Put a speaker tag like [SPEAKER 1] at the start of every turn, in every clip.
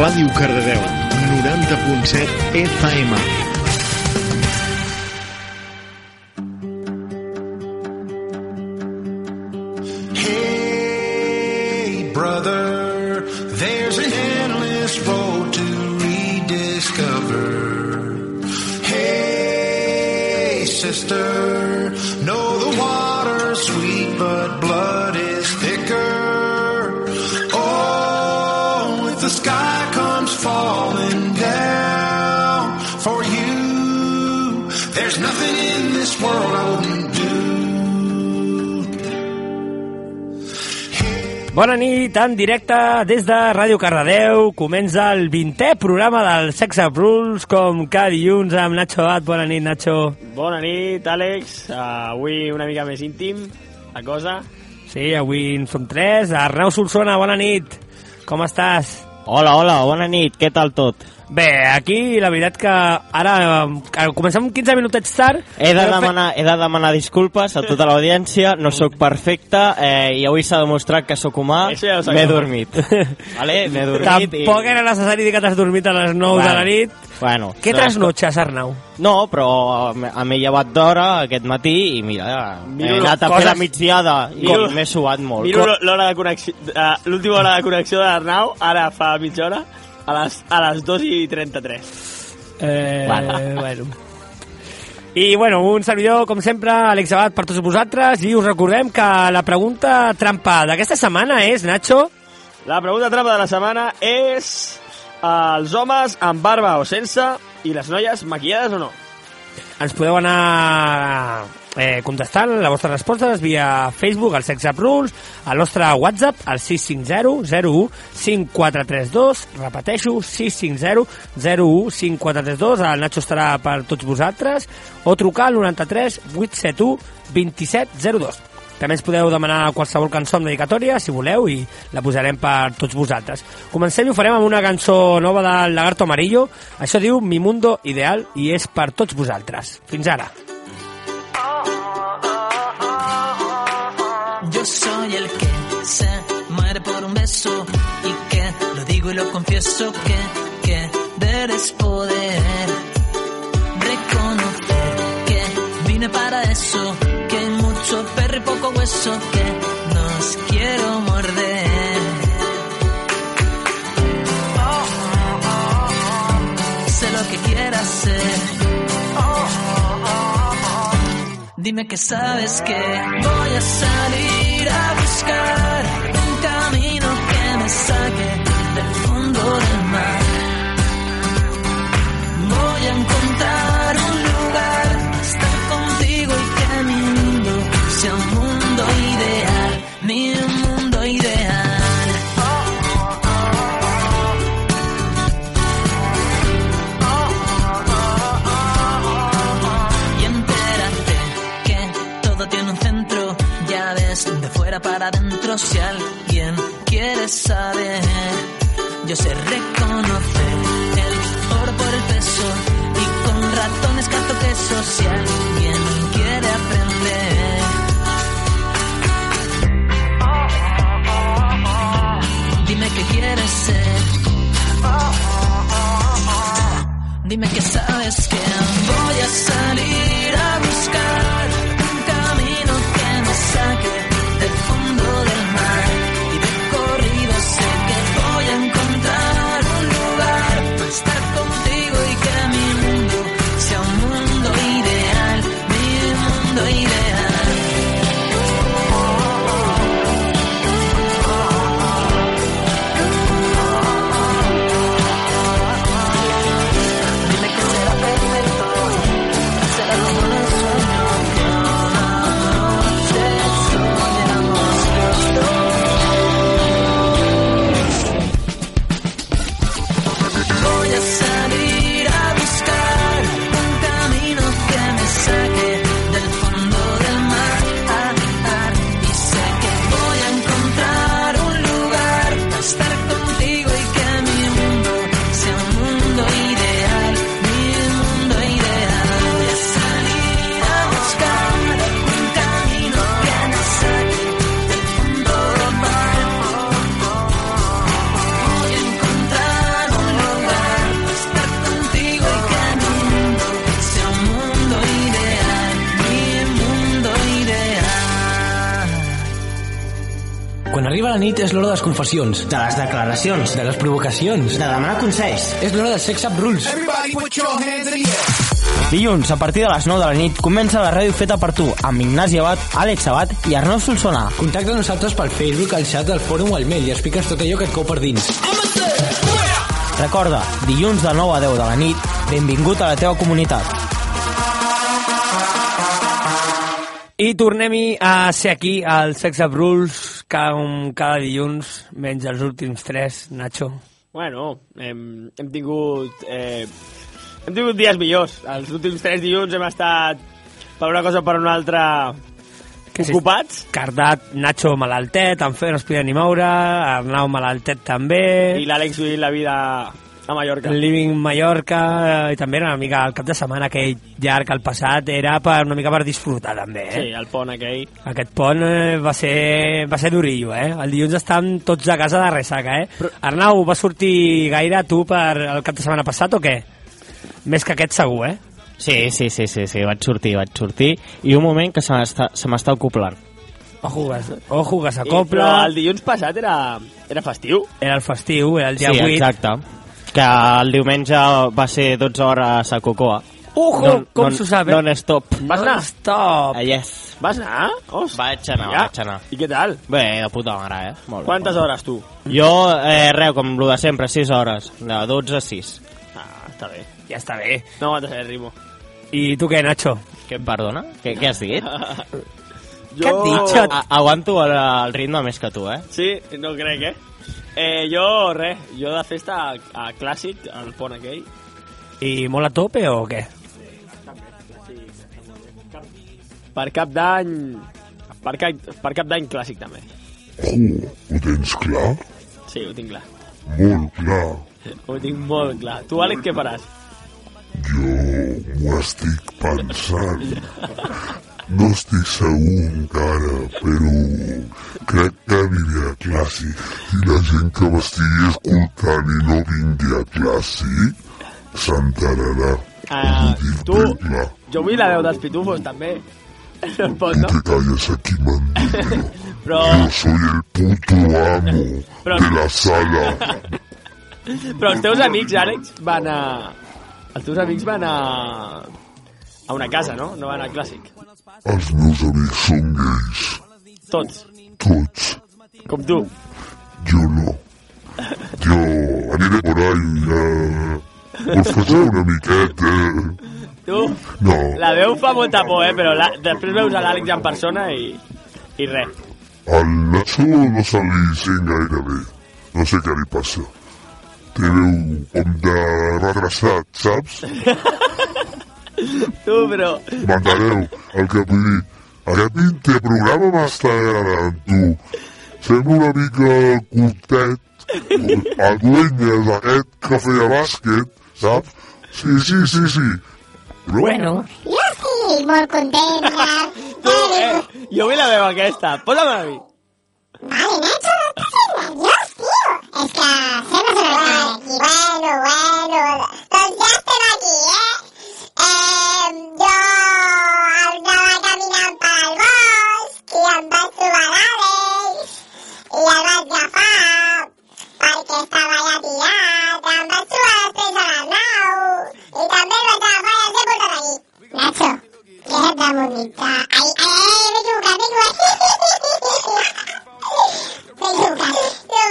[SPEAKER 1] Ràdio Cardedeu, 90.7 FM.
[SPEAKER 2] Hey, brother, there's an endless road to rediscover. Hey, sister, know the water's sweet, but blood is thicker. Oh, if the sky comes falling down for you, there's nothing in this world I wouldn't do.
[SPEAKER 3] Bona nit, en directe des de Ràdio Cardedeu. Comença el 20è programa del Sexe Bruls, com cada dilluns amb Nacho Abad. Bona nit, Nacho.
[SPEAKER 4] Bona nit, Àlex. Uh, avui una mica més íntim, la cosa.
[SPEAKER 3] Sí, avui en som tres. Arnau Solsona, bona nit. Com estàs?
[SPEAKER 5] Hola, hola, bona nit, què tal tot?
[SPEAKER 3] Bé, aquí la veritat que ara eh, comencem 15 minutets tard.
[SPEAKER 5] He de,
[SPEAKER 3] Però fe-
[SPEAKER 5] demanar, he de demanar disculpes a tota l'audiència, no sóc perfecte eh, i avui s'ha demostrat que sóc humà,
[SPEAKER 4] Això ja ho sabem.
[SPEAKER 5] m'he dormit. Vale? M'he dormit
[SPEAKER 3] Tampoc
[SPEAKER 5] i...
[SPEAKER 3] era necessari dir que t'has dormit a les 9 de la nit.
[SPEAKER 5] Bueno,
[SPEAKER 3] Què
[SPEAKER 5] doncs-
[SPEAKER 3] trasnotxes, Arnau?
[SPEAKER 5] No, però eh, m'he llevat d'hora aquest matí i mira,
[SPEAKER 4] Miro
[SPEAKER 5] he anat a
[SPEAKER 3] coses-
[SPEAKER 5] fer la migdiada i
[SPEAKER 4] Miro-
[SPEAKER 5] m'he suat molt.
[SPEAKER 4] Miro
[SPEAKER 5] Co-
[SPEAKER 4] l'ho- l'hora de connexió, uh, l'última hora de connexió de l'Arnau, ara fa mitja hora, a les, a les 2 i 33.
[SPEAKER 3] Eh,
[SPEAKER 5] Bueno.
[SPEAKER 3] bueno. I, bueno, un servidor, com sempre, Àlex Abad, per tots vosaltres, i us recordem que la pregunta trampa d'aquesta setmana és, Nacho,
[SPEAKER 4] La pregunta trampa de la setmana és... Uh, els homes amb barba o sense i les noies maquillades o no?
[SPEAKER 3] ens podeu anar eh, contestant les vostres respostes via Facebook, al Sex Up Rules, al nostre WhatsApp, al 650-01-5432, repeteixo, 650-01-5432, el Nacho estarà per tots vosaltres, o trucar al 93 871 2702. També ens podeu demanar qualsevol cançó amb dedicatòria, si voleu, i la posarem per tots vosaltres. Comencem i ho farem amb una cançó nova del Lagarto Amarillo. Això diu Mi Mundo Ideal i és per tots vosaltres. Fins ara.
[SPEAKER 6] Yo soy el que se muere por un beso y que lo digo y lo confieso que querer es poder. Reconocer que vine para eso, que hay mucho perro y poco hueso, que nos quiero morder. Sé lo que quieras ser. Dime que sabes que voy a salir a buscar un camino que me saque del fondo del mar. Voy a encontrar un lugar, estar contigo y que mi mundo sea un mundo ideal, mi mundo ideal. y entérate que todo tiene un centro. Ya ves, de fuera para adentro, si alguien quiere saber, yo sé reconocer el oro por el peso y con ratones canto queso. Si alguien quiere aprender. Dime qué quieres ser. Dime que sabes que voy a salir a buscar un camino que me saque del fondo del mar. Y de corrido sé que voy a encontrar un lugar para estar contigo y que mi mundo sea un mundo ideal, mi mundo ideal. Dime que será perfecto.
[SPEAKER 7] Quan arriba la nit és l'hora de les confessions,
[SPEAKER 4] De les declaracions,
[SPEAKER 7] de les provocacions,
[SPEAKER 4] de demanar consells.
[SPEAKER 7] és l'hora de sex up rules.
[SPEAKER 8] Everybody put your hands in the air.
[SPEAKER 4] Dilluns, a partir de les 9 de la nit, comença la ràdio feta per tu, amb Ignasi Abad, Àlex Abad i Arnau Solsona.
[SPEAKER 7] Contacta amb nosaltres pel Facebook, al xat, al fòrum o al mail i expliques tot allò que et cau per dins.
[SPEAKER 4] Recorda, dilluns de 9 a 10 de la nit, benvingut a la teva comunitat.
[SPEAKER 3] I tornem-hi a ser aquí, al Sex Up Rules, cada, un, cada dilluns, menys els últims tres, Nacho.
[SPEAKER 9] Bueno, hem, hem tingut... Eh, hem tingut dies millors. Els últims tres dilluns hem estat, per una cosa o per una altra,
[SPEAKER 3] Què és?
[SPEAKER 9] ocupats.
[SPEAKER 3] Cardat, Nacho malaltet, en Fer no es podia ni moure, Arnau malaltet també,
[SPEAKER 9] I l'Àlex vivint la vida a Mallorca.
[SPEAKER 3] Living Mallorca, eh, i també era una mica el cap de setmana aquell llarg al passat, era per, una mica per disfrutar també, eh?
[SPEAKER 9] Sí, el pont aquell.
[SPEAKER 3] Aquest pont eh, va ser, va ser durillo, eh? El dilluns estàvem tots a casa de ressaca, eh? Però... Arnau, va sortir gaire tu per el cap de setmana passat o què? Més que aquest segur, eh?
[SPEAKER 4] Sí, sí, sí, sí, sí, vaig sortir, vaig sortir, i un moment que se m'està- se m'està acoplant.
[SPEAKER 3] Ojo, que, es- ojo
[SPEAKER 9] I, eh?
[SPEAKER 3] que
[SPEAKER 9] però
[SPEAKER 3] s'acopla,
[SPEAKER 9] el dilluns passat era, era festiu.
[SPEAKER 3] era el festiu, era el dia
[SPEAKER 4] sí,
[SPEAKER 3] 8.
[SPEAKER 4] exacte. Que el diumenge va ser 12 hores a Cocoa.
[SPEAKER 3] Ojo, com s'ho sabe.
[SPEAKER 4] Non stop.
[SPEAKER 9] Vas anar?
[SPEAKER 3] Stop!
[SPEAKER 4] Ah, yes.
[SPEAKER 9] Vas anar? Hosti,
[SPEAKER 4] Vaig anar, vaig anar.
[SPEAKER 9] I què tal?
[SPEAKER 4] Bé, de puta mare, eh? Molt bé.
[SPEAKER 9] Quantes hores, tu?
[SPEAKER 4] Jo, eh, res, com el de sempre, 6 hores. De 12 a 6.
[SPEAKER 9] Ah, està bé.
[SPEAKER 3] Ja està bé.
[SPEAKER 9] No m'ha el ritmo.
[SPEAKER 3] I tu què, Nacho?
[SPEAKER 4] Què em perdona? Què, què has dit?
[SPEAKER 9] Jo...
[SPEAKER 3] Què has dit?
[SPEAKER 4] A, aguanto el, el ritme més que tu, eh?
[SPEAKER 9] Ah, Sí, no crec, eh? Eh, jo, res, jo de festa a, a Clàssic, al pont aquell.
[SPEAKER 3] I molt a tope o què?
[SPEAKER 9] Per cap d'any... Per cap, per cap d'any Clàssic, també.
[SPEAKER 10] Oh, ho tens clar?
[SPEAKER 9] Sí, ho tinc clar.
[SPEAKER 10] Molt clar.
[SPEAKER 9] Ho tinc molt clar. Tu, Àlex, què faràs?
[SPEAKER 10] Jo m'ho estic pensant. No estic segur encara, però crec que aniré a classe. I la gent que m'estigui escoltant i no vingui a classe s'enterarà.
[SPEAKER 9] Ah,
[SPEAKER 10] Ho tinc
[SPEAKER 9] tu-
[SPEAKER 10] ben clar.
[SPEAKER 9] Jo vull la veu dels pitufos, també. No es pot,
[SPEAKER 10] Tu
[SPEAKER 9] no?
[SPEAKER 10] te calles aquí, mandingo.
[SPEAKER 3] Ah.
[SPEAKER 9] Però,
[SPEAKER 10] Yo soy el puto amo
[SPEAKER 9] Pero-
[SPEAKER 10] de la sala.
[SPEAKER 9] però els teus amics, Àlex, van a... Els teus amics van a... A una casa, no? No van a Clàssic.
[SPEAKER 10] Els meus amics són gais.
[SPEAKER 9] Tots.
[SPEAKER 10] Tots.
[SPEAKER 9] Com tu.
[SPEAKER 10] Yo no. Yo aniré por ahí. Eh, us faceu una miqueta. eh?
[SPEAKER 9] Tu,
[SPEAKER 10] No,
[SPEAKER 9] La veu fa molta por, eh? Però la, després veus a l'Àlex en persona i... I res.
[SPEAKER 10] al Nacho no se li sent gaire bé. No sé què li passa. Té veu com de regressat, saps?
[SPEAKER 9] Tu, però...
[SPEAKER 10] M'enteneu el que vull dir? Aquest pinte programa m'està agradant, tu. Sembla una mica el curtet, el Dueñas, aquest que feia bàsquet, saps? Sí, sí, sí, sí. Però,
[SPEAKER 3] Bueno,
[SPEAKER 11] Jo estic molt content, ja.
[SPEAKER 9] Tu, eh? Jo vull la veu aquesta. Posa'm a mi.
[SPEAKER 11] Vale, Nacho, no estàs fent nerviós, tio. És que sembla ser normal aquí. Bueno, bueno, doncs ja estem aquí, eh? Eh, jo anava caminant pel bosc i em vaig trobar l'Àlex i el vaig agafar perquè estava allà tirat. Em vaig trobar després a l'Arnau i també el vaig agafar i els he portat aquí. Nacho, què et va vomitar? Ai, ai, ai, m'he equivocat, m'he equivocat. Nacho,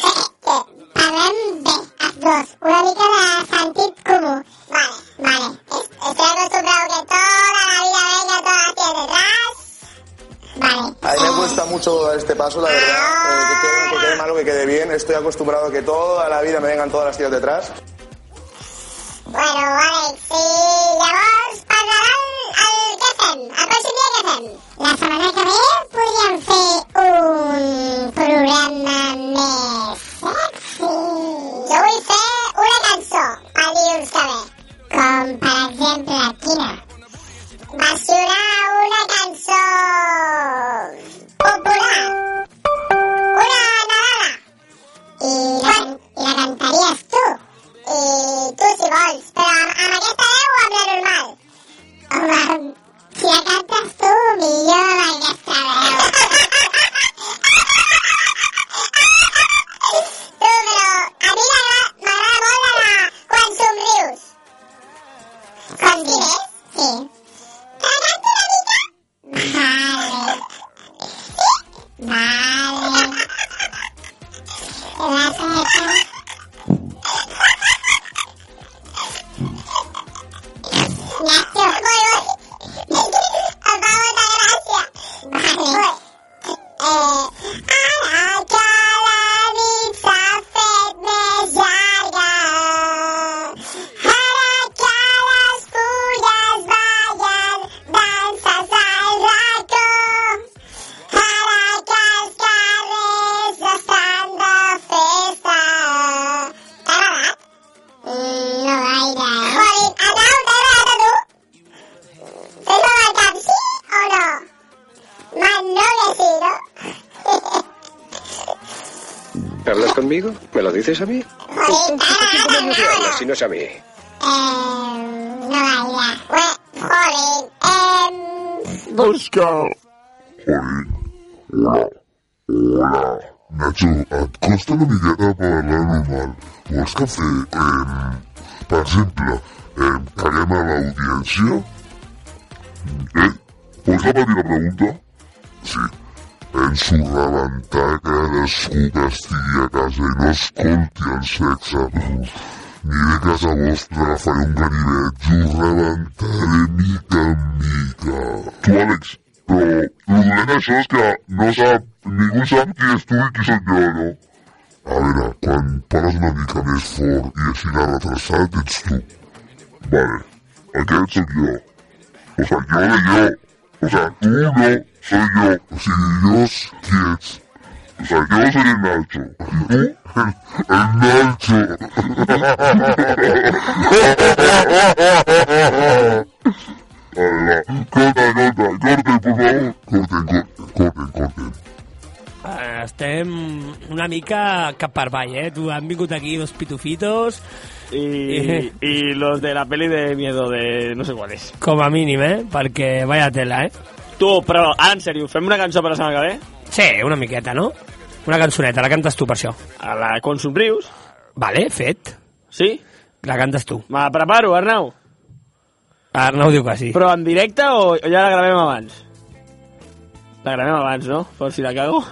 [SPEAKER 11] parlem bé, els dos. Una mica de sentit comú. Vale, vale. Es- Estoy acostumbrado que toda la vida venga todo hacia detrás. Vale.
[SPEAKER 12] A mí me cuesta mucho dar este paso, la verdad. Eh, que, quede, que quede malo, que quede bien. Estoy acostumbrado a que toda la vida me vengan todas las tías detrás.
[SPEAKER 11] Bueno, vale, sí. Llavors parlaran el què fem, el pròxim dia què fem. La setmana que ve podríem fer un programa més sexy. Jo vull fer una cançó pel dilluns que ve. Com per exemple quina? Va sonar una cançó popular. Una nadala i la, i la cantaries tu. I tu si vols, però amb, amb aquesta veu o amb la normal? Home, si la cantes tu, millor amb aquesta
[SPEAKER 13] Con diners, sí. ¿Tragarte una mica? Vale. ¿Sí? Vale. ¿Te vas a dejar? Nacho, voy, voy. Os va a botar gracia. Vale. Eh, ara que la nit s'ha fet més llarga, ara que les fulles ballen danses al racó, ara que els carrers estan de festa. T'ha agradat? No gaire. Jolín, Arnau, t'ha agradat a tu? Fes-me amb el cap, sí o no? Man, no que sí, no?
[SPEAKER 11] ¿Hablas conmigo? ¿Me lo dices a mí?
[SPEAKER 13] Joder,
[SPEAKER 11] Si no es a mí.
[SPEAKER 13] no gaire. Ué, joder, em...
[SPEAKER 10] Busca. Hola. Hola. Nacho, et costa una miqueta parlar normal. Vols que fer, eh, per exemple, eh, caguem a l'audiència? Eh? Pots repetir la pregunta? Sí. Penso rebentar cadascú que estigui a casa i no escolti el sexe. Aniré a casa vostra, agafaré un ganivet i ho rebentaré mica en mica. Tu, Àlex, però el dolent d'això és que no sap, ningú sap qui és tu i qui sóc jo, no? A veure, quan parles una mica més fort i així l'ha retrasat, ets tu. Vale, aquest sóc jo. O sea, yo de yo. O sea, tú no, soy yo. O sea, Dios quién es. O sea, yo soy el Nacho. Y tú, el Nacho. A ver, va. corta, corta, corten, por favor. Corten, corten, corten, corten.
[SPEAKER 3] Eh, Estem una mica cap per avall, eh? Tu han vingut aquí dos pitufitos,
[SPEAKER 4] Y, y los de la peli de miedo de no sé cuál es.
[SPEAKER 3] com a mínim, eh? Perquè vaya tela, eh?
[SPEAKER 4] Tu, però, ara, en sèrio, fem una cançó per la setmana que ve?
[SPEAKER 3] Sí, una miqueta, no? Una cançoneta, la cantes tu per això.
[SPEAKER 4] A la Con Somrius.
[SPEAKER 3] Vale, fet.
[SPEAKER 4] Sí?
[SPEAKER 3] La cantes tu.
[SPEAKER 4] Me la preparo, Arnau.
[SPEAKER 3] Arnau diu que sí.
[SPEAKER 4] Però en directe o, o ja la gravem abans? La gravem abans, no? Per si la cago.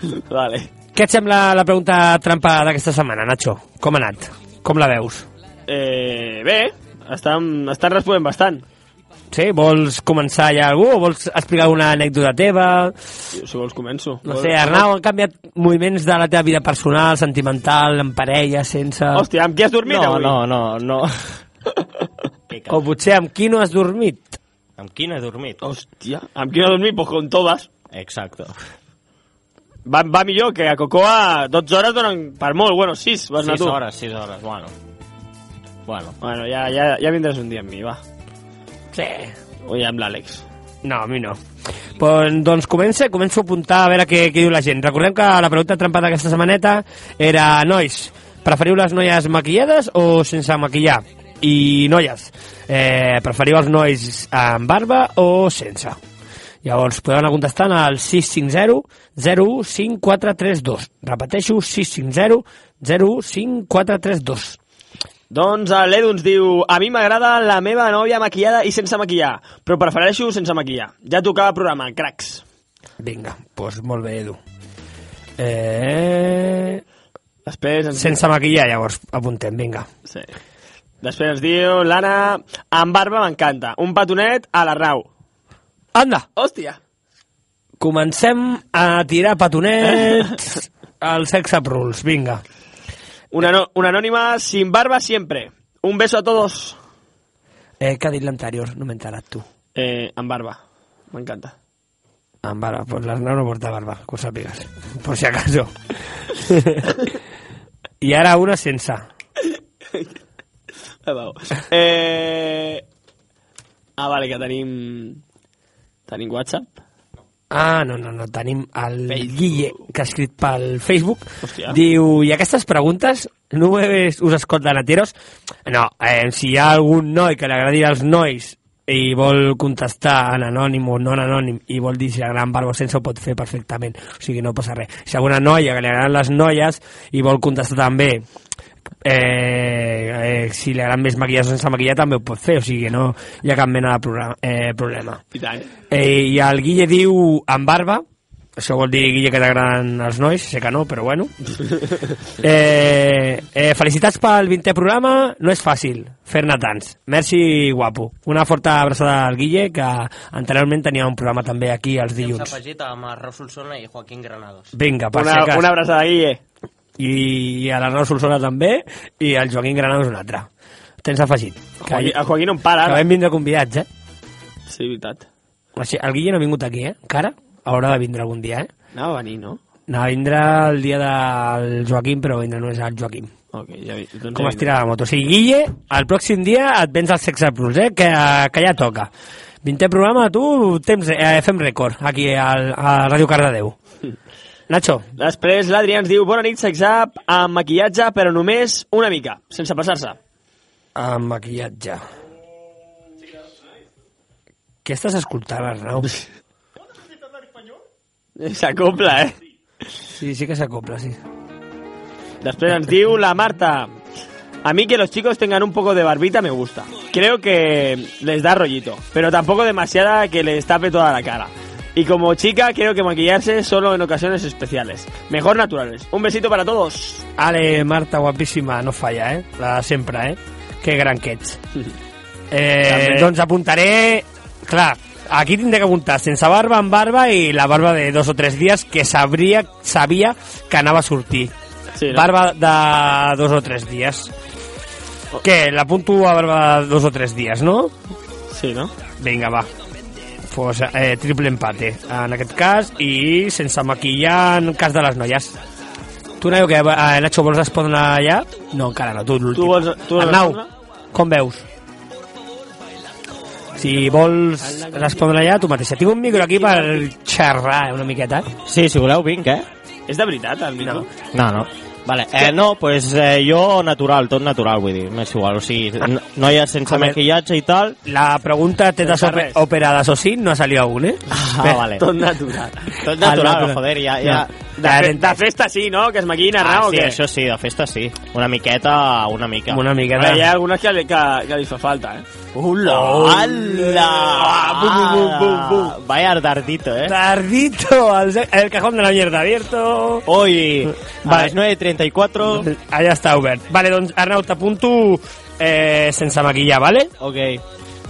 [SPEAKER 4] vale.
[SPEAKER 3] Què et sembla la pregunta trampa d'aquesta setmana, Nacho? Com ha anat? Com la veus?
[SPEAKER 4] Eh, bé, estan, estan responent bastant.
[SPEAKER 3] Sí? Vols començar ja algú o vols explicar una anècdota teva?
[SPEAKER 4] Si vols començo.
[SPEAKER 3] No sé, Arnau, han canviat moviments de la teva vida personal, sentimental, en parella, sense...
[SPEAKER 4] Hòstia, amb qui has dormit
[SPEAKER 5] no,
[SPEAKER 4] avui?
[SPEAKER 5] no, no, no.
[SPEAKER 3] O potser amb qui no has dormit?
[SPEAKER 5] Amb qui no he dormit?
[SPEAKER 4] Hòstia, amb qui no has dormit? Pues con todas.
[SPEAKER 5] Exacto.
[SPEAKER 4] Va, va millor, que a Cocoa 12 hores donen per molt. Bueno, 6, vas anar
[SPEAKER 5] 6
[SPEAKER 4] tu.
[SPEAKER 5] hores, 6 hores, bueno. Bueno.
[SPEAKER 4] Bueno, ja, ja, ja vindràs un dia amb mi, va.
[SPEAKER 3] Sí.
[SPEAKER 4] O ja amb l'Àlex.
[SPEAKER 3] No, a mi no. Pues, doncs comença, començo a apuntar a veure què, què diu la gent. Recordem que la pregunta trampa d'aquesta setmaneta era nois, preferiu les noies maquillades o sense maquillar? I noies, eh, preferiu els nois amb barba o sense? Llavors, podeu anar contestant al 650-05432. Repeteixo, 650-05432.
[SPEAKER 4] Doncs l'Edu ens diu A mi m'agrada la meva nòvia maquillada i sense maquillar, però prefereixo sense maquillar. Ja tocava programa, cracs.
[SPEAKER 3] Vinga, doncs pues molt bé, Edu. Eh...
[SPEAKER 4] Després ens...
[SPEAKER 3] Sense maquillar, llavors, apuntem, vinga.
[SPEAKER 4] Sí. Després ens diu l'Anna Amb barba m'encanta. Un petonet a l'Arnau.
[SPEAKER 3] Anda,
[SPEAKER 4] Hòstia.
[SPEAKER 3] comencem a tirar petonets al sexe rules, vinga.
[SPEAKER 4] Una, no, una anònima sin barba siempre. Un beso a todos.
[SPEAKER 3] Eh, què ha dit l'anterior? No m'he enterat, tu.
[SPEAKER 4] Eh, amb barba. M'encanta.
[SPEAKER 3] Amb barba, pues l'Arnau doncs no porta barba, que ho sàpigues. Por si acaso. I ara una sense.
[SPEAKER 4] Ah, vau. Eh... Ah, vale, que tenim... Mm, Tenim WhatsApp?
[SPEAKER 3] Ah, no, no, no, tenim el Guille, que ha escrit pel Facebook.
[SPEAKER 4] Hòstia.
[SPEAKER 3] Diu, i aquestes preguntes només us escolten a tiros? No, eh, si hi ha algun noi que li agradi als nois i vol contestar en anònim o no en anònim i vol dir si la gran barba sense ho pot fer perfectament, o sigui, no passa res. Si alguna noia que li agraden les noies i vol contestar també eh, eh, si li agraden més maquillar o sense maquillar també ho pot fer, o sigui que no hi ha cap mena de programa, eh, problema.
[SPEAKER 4] I tant.
[SPEAKER 3] Eh, I el Guille diu amb barba, això vol dir, Guille, que t'agraden els nois, sé que no, però bueno. Eh, eh, felicitats pel 20è programa, no és fàcil fer-ne tants. Merci, guapo. Una forta abraçada al Guille, que anteriorment tenia un programa també aquí els
[SPEAKER 5] S'ha
[SPEAKER 3] dilluns.
[SPEAKER 5] afegit amb el Raúl Solsona i Joaquín Granados.
[SPEAKER 3] Vinga, per
[SPEAKER 5] Una-
[SPEAKER 3] si cas.
[SPEAKER 5] una
[SPEAKER 4] abraçada, Guille.
[SPEAKER 3] I, a la Rau Solsona també, i al Joaquín Granados un altre. Tens afegit.
[SPEAKER 4] Joaquín- el Joaquín no em para,
[SPEAKER 3] Que
[SPEAKER 4] ara.
[SPEAKER 3] vam vindre convidats, eh?
[SPEAKER 4] Sí, veritat.
[SPEAKER 3] Així, el Guille no ha vingut aquí, eh? Encara. Haurà de vindre algun dia, eh?
[SPEAKER 4] Anava a venir, no?
[SPEAKER 3] No, vindrà el dia del Joaquim, però vindrà només el Joaquim.
[SPEAKER 4] Ok, ja vi. Doncs
[SPEAKER 3] Com
[SPEAKER 4] ja
[SPEAKER 3] es tira la moto. O sigui, Guille, el pròxim dia et vens al Sexe Plus, eh? Que, que ja toca. 20è programa, tu, temps, eh, fem rècord aquí al, a Ràdio Cardedeu. Nacho,
[SPEAKER 4] Després l'Adrià ens diu Bona nit, sexap, amb maquillatge, però només una mica, sense passar-se.
[SPEAKER 3] amb maquillatge. Què estàs escoltant, Arnau?
[SPEAKER 4] S'acopla, eh?
[SPEAKER 3] Sí, sí que s'acopla, sí.
[SPEAKER 4] Després ens diu la Marta A mí que los chicos tengan un poco de barbita me gusta. Creo que les da rollito, pero tampoco demasiada que les tape toda la cara. Y como chica, creo que maquillarse solo en ocasiones especiales. Mejor naturales. Un besito para todos.
[SPEAKER 3] Ale, Marta, guapíssima, no falla, eh? La de sempre, eh? Que gran que ets. Eh,
[SPEAKER 4] També.
[SPEAKER 3] doncs apuntaré... Clar, aquí tindré que apuntar sense barba, amb barba i la barba de dos o tres dies que sabria, sabia que anava a sortir.
[SPEAKER 4] Sí, no?
[SPEAKER 3] Barba de dos o tres dies.
[SPEAKER 4] Oh.
[SPEAKER 3] Què? L'apunto a barba de dos o tres dies, no?
[SPEAKER 4] Sí, no?
[SPEAKER 3] Vinga, va. Pues, eh, triple empate, en aquest cas, i sense maquillar en cas de les noies. Tu, Nacho, que, eh, Nacho, vols respondre ja? No, encara no, tu l'últim.
[SPEAKER 4] Tu vols, tu vols
[SPEAKER 3] Arnau,
[SPEAKER 4] respondre?
[SPEAKER 3] com veus? Si vols respondre ja, tu mateixa. Tinc un micro aquí per xerrar eh, una miqueta.
[SPEAKER 5] Sí, si voleu, vinc, eh?
[SPEAKER 4] És de veritat, el micro?
[SPEAKER 5] No, no. Vale, eh, no, pues eh, jo natural, tot natural, vull dir, m'és igual, o sigui, no, noies sense
[SPEAKER 3] A ver.
[SPEAKER 5] maquillatge i tal.
[SPEAKER 3] La pregunta tetas ope- operadas o sí, no ha salido aún, ¿eh?
[SPEAKER 5] Ah, vale.
[SPEAKER 4] Tot natural.
[SPEAKER 5] Tot natural, joder, ja- ja-
[SPEAKER 4] De, fe, de festa sí, no? Que es maquillin, Arnau,
[SPEAKER 5] ah,
[SPEAKER 4] o
[SPEAKER 5] sí,
[SPEAKER 4] què?
[SPEAKER 5] això sí, de festa sí. Una miqueta, una mica.
[SPEAKER 3] Una miqueta.
[SPEAKER 4] Ara, hi ha algunes que, li- que, que li fa falta, eh?
[SPEAKER 5] Hola! Hola! Bum, bum, bum, bum. Vaya tardito, eh?
[SPEAKER 3] Tardito, al- el cajón de la mierda abierto.
[SPEAKER 5] Hoy,
[SPEAKER 3] Vale.
[SPEAKER 5] a las 9.34...
[SPEAKER 3] Allà està obert. Vale, doncs, Arnau, t'apunto eh, sense maquillar, vale?
[SPEAKER 5] Ok.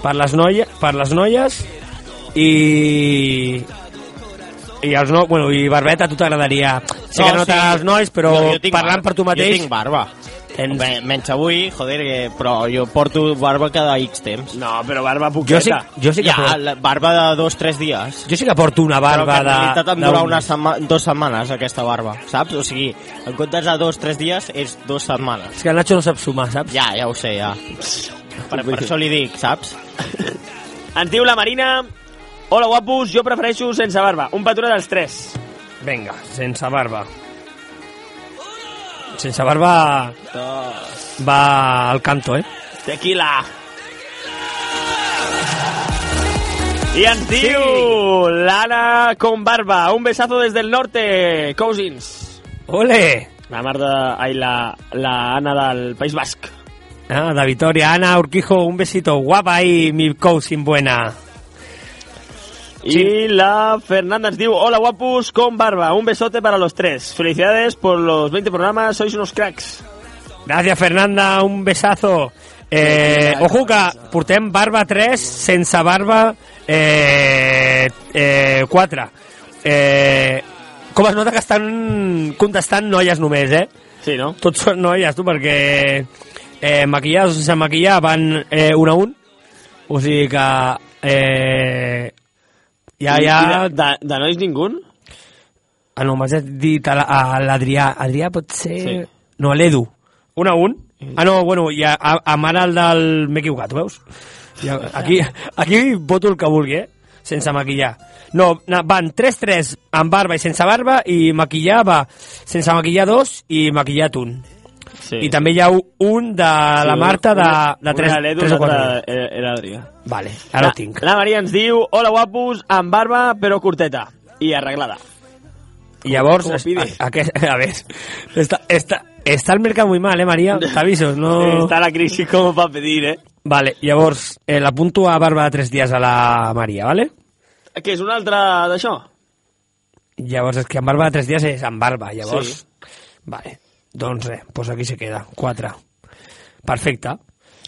[SPEAKER 3] Per les, noia, per les noies i... I, els no, bueno, i Barbeta, a tu t'agradaria... Sé que no t'agraden els nois, però
[SPEAKER 5] Jo- jo tinc
[SPEAKER 3] parlant
[SPEAKER 5] barba.
[SPEAKER 3] per tu mateix...
[SPEAKER 5] Jo tinc barba.
[SPEAKER 3] Tens-
[SPEAKER 5] Bé, menys avui, joder, que, però jo porto barba cada X temps.
[SPEAKER 4] No, però barba
[SPEAKER 3] Jo sí- jo sí que
[SPEAKER 5] ja,
[SPEAKER 3] porto.
[SPEAKER 5] la barba de dos, tres dies.
[SPEAKER 3] Jo sí que porto una
[SPEAKER 5] però
[SPEAKER 3] barba
[SPEAKER 5] que en
[SPEAKER 3] de...
[SPEAKER 5] realitat em
[SPEAKER 3] d'un-
[SPEAKER 5] dura una sema dues setmanes aquesta barba, saps? O sigui, en comptes de dos, tres dies, és dues setmanes.
[SPEAKER 3] És que el Nacho no sap sumar, saps?
[SPEAKER 5] Ja, ja ho sé, ja. Per, per això li dic, saps?
[SPEAKER 4] Ens diu la Marina... Hola, guapos, jo prefereixo sense barba. Un petó dels tres.
[SPEAKER 3] Vinga, sense barba. Sense barba va al canto, eh?
[SPEAKER 4] Tequila. I ens diu l'Anna con barba. Un besazo des del norte, cousins.
[SPEAKER 3] Ole!
[SPEAKER 4] La Marta... Ai, la, la Anna del País Basc.
[SPEAKER 3] Ah, da Vitoria, Ana Urquijo, un besito guapa y mi cousin buena.
[SPEAKER 4] Y la Fernanda ens diu Hola guapus con barba, un besote para los tres Felicidades por los 20 programas, sois unos cracks
[SPEAKER 3] Gracias, Fernanda, un besazo. Eh, Ojuca, portem barba 3, sense barba eh, eh, 4. Eh, com es nota que estan contestant noies només, eh?
[SPEAKER 4] Sí, no?
[SPEAKER 3] Tots són noies, tu, perquè eh, maquillar o sense maquillar van eh, un a un. O sigui que... Eh, ja,
[SPEAKER 4] I-
[SPEAKER 3] ja...
[SPEAKER 4] i De, de, de nois ningú?
[SPEAKER 3] Ah, no, m'has dit a la- a l'Adrià. Adrià pot ser... Sí. No, a l'Edu. Un a un. Ah, no, bueno, i a, a, a mare el del... M'he equivocat, ho veus? Ja, aquí, aquí voto el que vulgui, eh? Sense maquillar. No, na- van 3-3 amb barba i sense barba i maquillar va sense maquillar dos i maquillat un.
[SPEAKER 4] Sí.
[SPEAKER 3] I també hi ha un- un de la Marta de, de 3,
[SPEAKER 4] Una l'Edu,
[SPEAKER 3] 3 o 4.
[SPEAKER 4] l'altra era era l'Adrià
[SPEAKER 3] Vale, ara
[SPEAKER 4] La-
[SPEAKER 3] ho tinc.
[SPEAKER 4] La Maria ens diu Hola guapus, amb barba però curteta I arreglada
[SPEAKER 3] I llavors,
[SPEAKER 4] com ho
[SPEAKER 3] es-
[SPEAKER 4] pide.
[SPEAKER 3] a, a, a, a veure, esta, esta, Está el mercado muy mal, eh, María? T'aviso, no...
[SPEAKER 4] Está la crisis como para pedir, eh?
[SPEAKER 3] Vale, llavors, eh, l'apunto a barba de tres dies a la Maria, vale?
[SPEAKER 4] Que és una altra d'això?
[SPEAKER 3] Llavors, és que en barba de tres dies és en barba, llavors...
[SPEAKER 4] Sí.
[SPEAKER 3] Vale, doncs res, doncs aquí se queda, quatre. Perfecte.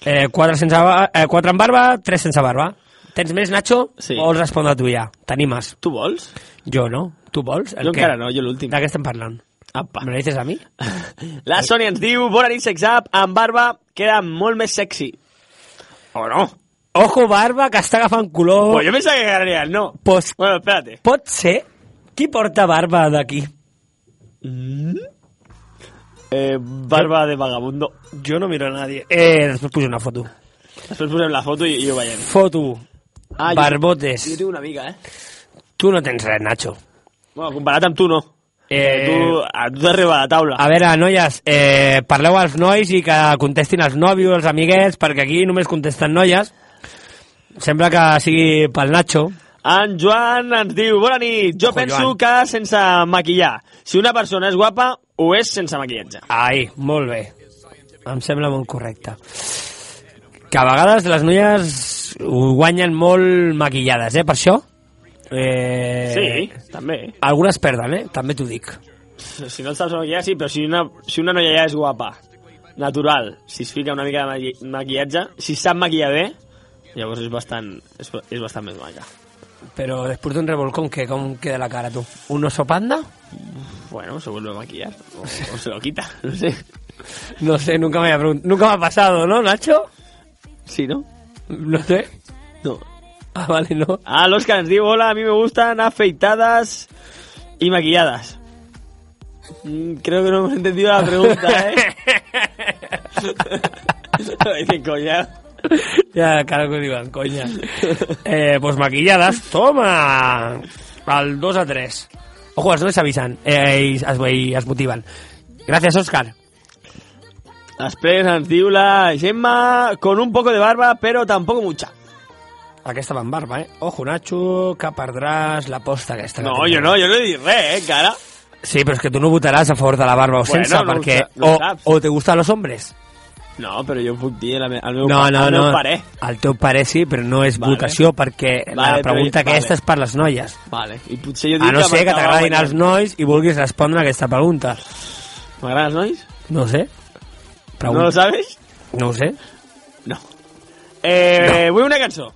[SPEAKER 3] Eh, quatre, sense, ba- eh, quatre en barba, tres sense barba. Tens més, Nacho? Sí. O vols respondre tu ja? T'animes?
[SPEAKER 4] Tu vols?
[SPEAKER 3] Jo no. Tu vols?
[SPEAKER 4] Jo encara no, jo l'últim.
[SPEAKER 3] De què estem parlant?
[SPEAKER 4] Apa.
[SPEAKER 3] Me lo dices a mi?
[SPEAKER 4] La Sònia ens diu, bona nit, sex up, amb barba queda molt més sexy. O no?
[SPEAKER 3] Ojo, barba, que està agafant color...
[SPEAKER 4] Pues yo pensaba que ganarías, no.
[SPEAKER 3] Pues,
[SPEAKER 4] bueno, espérate.
[SPEAKER 3] Pot ser? Qui porta barba d'aquí?
[SPEAKER 4] Eh, barba de vagabundo.
[SPEAKER 3] Jo no miro a nadie. Eh, després pujo una foto.
[SPEAKER 4] Després posem la foto i, i ho veiem.
[SPEAKER 3] Foto.
[SPEAKER 4] Ah, jo-
[SPEAKER 3] Barbotes.
[SPEAKER 4] Jo tinc una mica, eh?
[SPEAKER 3] Tu no tens res, Nacho.
[SPEAKER 4] Bueno, comparat amb tu, no.
[SPEAKER 3] Eh,
[SPEAKER 4] Tu, a tu t'arriba a la taula.
[SPEAKER 3] A veure, noies, eh, parleu als nois i que contestin els nòvios, els amiguets, perquè aquí només contesten noies. Sembla que sigui pel Nacho.
[SPEAKER 4] En Joan ens diu, bona nit, jo penso
[SPEAKER 3] Joan.
[SPEAKER 4] que sense maquillar. Si una persona és guapa, ho és sense maquillatge.
[SPEAKER 3] Ai, molt bé. Em sembla molt correcte. Que a vegades les noies ho guanyen molt maquillades, eh, per això? Eh,
[SPEAKER 4] Sí, també.
[SPEAKER 3] Algunes perden, eh? També t'ho dic.
[SPEAKER 4] Si no et saps maquillar, sí, però si una, si una noia ja és guapa, natural, si es fica una mica de maqui- maquillatge, si sap maquillar bé, llavors és bastant, és, és bastant més maca.
[SPEAKER 3] Però després d'un revolcón, que com queda la cara, tu? Un oso panda?
[SPEAKER 4] Bueno, se vuelve a maquillar, o, o se lo quita, no sé.
[SPEAKER 3] No sé, nunca me, había pregun- nunca me ha pasado, ¿no, Nacho?
[SPEAKER 4] Sí, ¿no?
[SPEAKER 3] No sé.
[SPEAKER 4] No.
[SPEAKER 3] Ah, vale, no.
[SPEAKER 4] Ah, l'Òscar ens diu, hola, a mi me gustan afeitadas y maquilladas. Mm, Creo que no hemos entendido la pregunta, ¿eh? Dice, coña.
[SPEAKER 3] Ya, claro que digan, coña. Eh, pues maquilladas, toma. Al 2 a 3. Ojo, las dos avisan eh, y as- y as motivan. Gracias, Óscar.
[SPEAKER 4] Després ens diu la Gemma con un poco de barba, pero tampoco mucha.
[SPEAKER 3] Aquesta va amb barba, eh? Ojo, Nacho, que perdràs la posta aquesta. que
[SPEAKER 4] No,
[SPEAKER 3] tens.
[SPEAKER 4] jo no, jo no he dit res, eh, encara.
[SPEAKER 3] Sí, però és que tu no votaràs a favor de la barba o
[SPEAKER 4] Bueno,
[SPEAKER 3] sense,
[SPEAKER 4] no ho
[SPEAKER 3] perquè...
[SPEAKER 4] sa- no ho
[SPEAKER 3] o,
[SPEAKER 4] saps.
[SPEAKER 3] o te gustan los hombres.
[SPEAKER 4] No, però jo puc dir al meu, al meu,
[SPEAKER 3] No,
[SPEAKER 4] pa-
[SPEAKER 3] no,
[SPEAKER 4] al
[SPEAKER 3] no.
[SPEAKER 4] meu pare.
[SPEAKER 3] El teu pare sí, però no és
[SPEAKER 4] Vale.
[SPEAKER 3] votació perquè
[SPEAKER 4] Vale,
[SPEAKER 3] la pregunta
[SPEAKER 4] però-
[SPEAKER 3] aquesta
[SPEAKER 4] vale.
[SPEAKER 3] és per les noies.
[SPEAKER 4] Vale, i potser jo dic
[SPEAKER 3] A Ah, no ser que
[SPEAKER 4] m'acaba
[SPEAKER 3] t'agradin els
[SPEAKER 4] guanyant.
[SPEAKER 3] nois i vulguis respondre aquesta pregunta.
[SPEAKER 4] M'agraden els nois?
[SPEAKER 3] No ho sé. Pregunta.
[SPEAKER 4] No lo sabes?
[SPEAKER 3] No ho sé.
[SPEAKER 4] No. Eh, vull una cançó,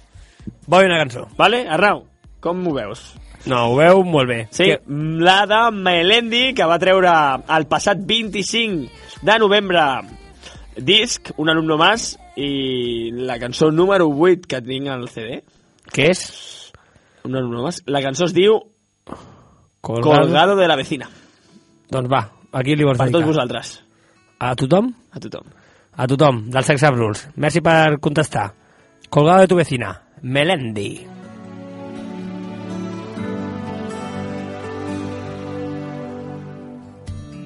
[SPEAKER 3] Vull una cançó.
[SPEAKER 4] vale? Arnau, com m'ho veus?
[SPEAKER 3] No, ho veu molt bé.
[SPEAKER 4] Sí,
[SPEAKER 3] Que-
[SPEAKER 4] la de Melendi, que va treure el passat 25 de novembre disc, un alumno més, i la cançó número 8 que tinc al CD,
[SPEAKER 3] Què és?
[SPEAKER 4] un alumno més, la cançó es diu
[SPEAKER 3] Colgado.
[SPEAKER 4] Colgado de la vecina,
[SPEAKER 3] Doncs va, aquí li vols
[SPEAKER 4] per tots
[SPEAKER 3] dedicar.
[SPEAKER 4] vosaltres,
[SPEAKER 3] A tothom?
[SPEAKER 4] a tothom.
[SPEAKER 3] A tothom, del Sex Up Rules. Merci per contestar. Colgado de tu vecina. Melendi.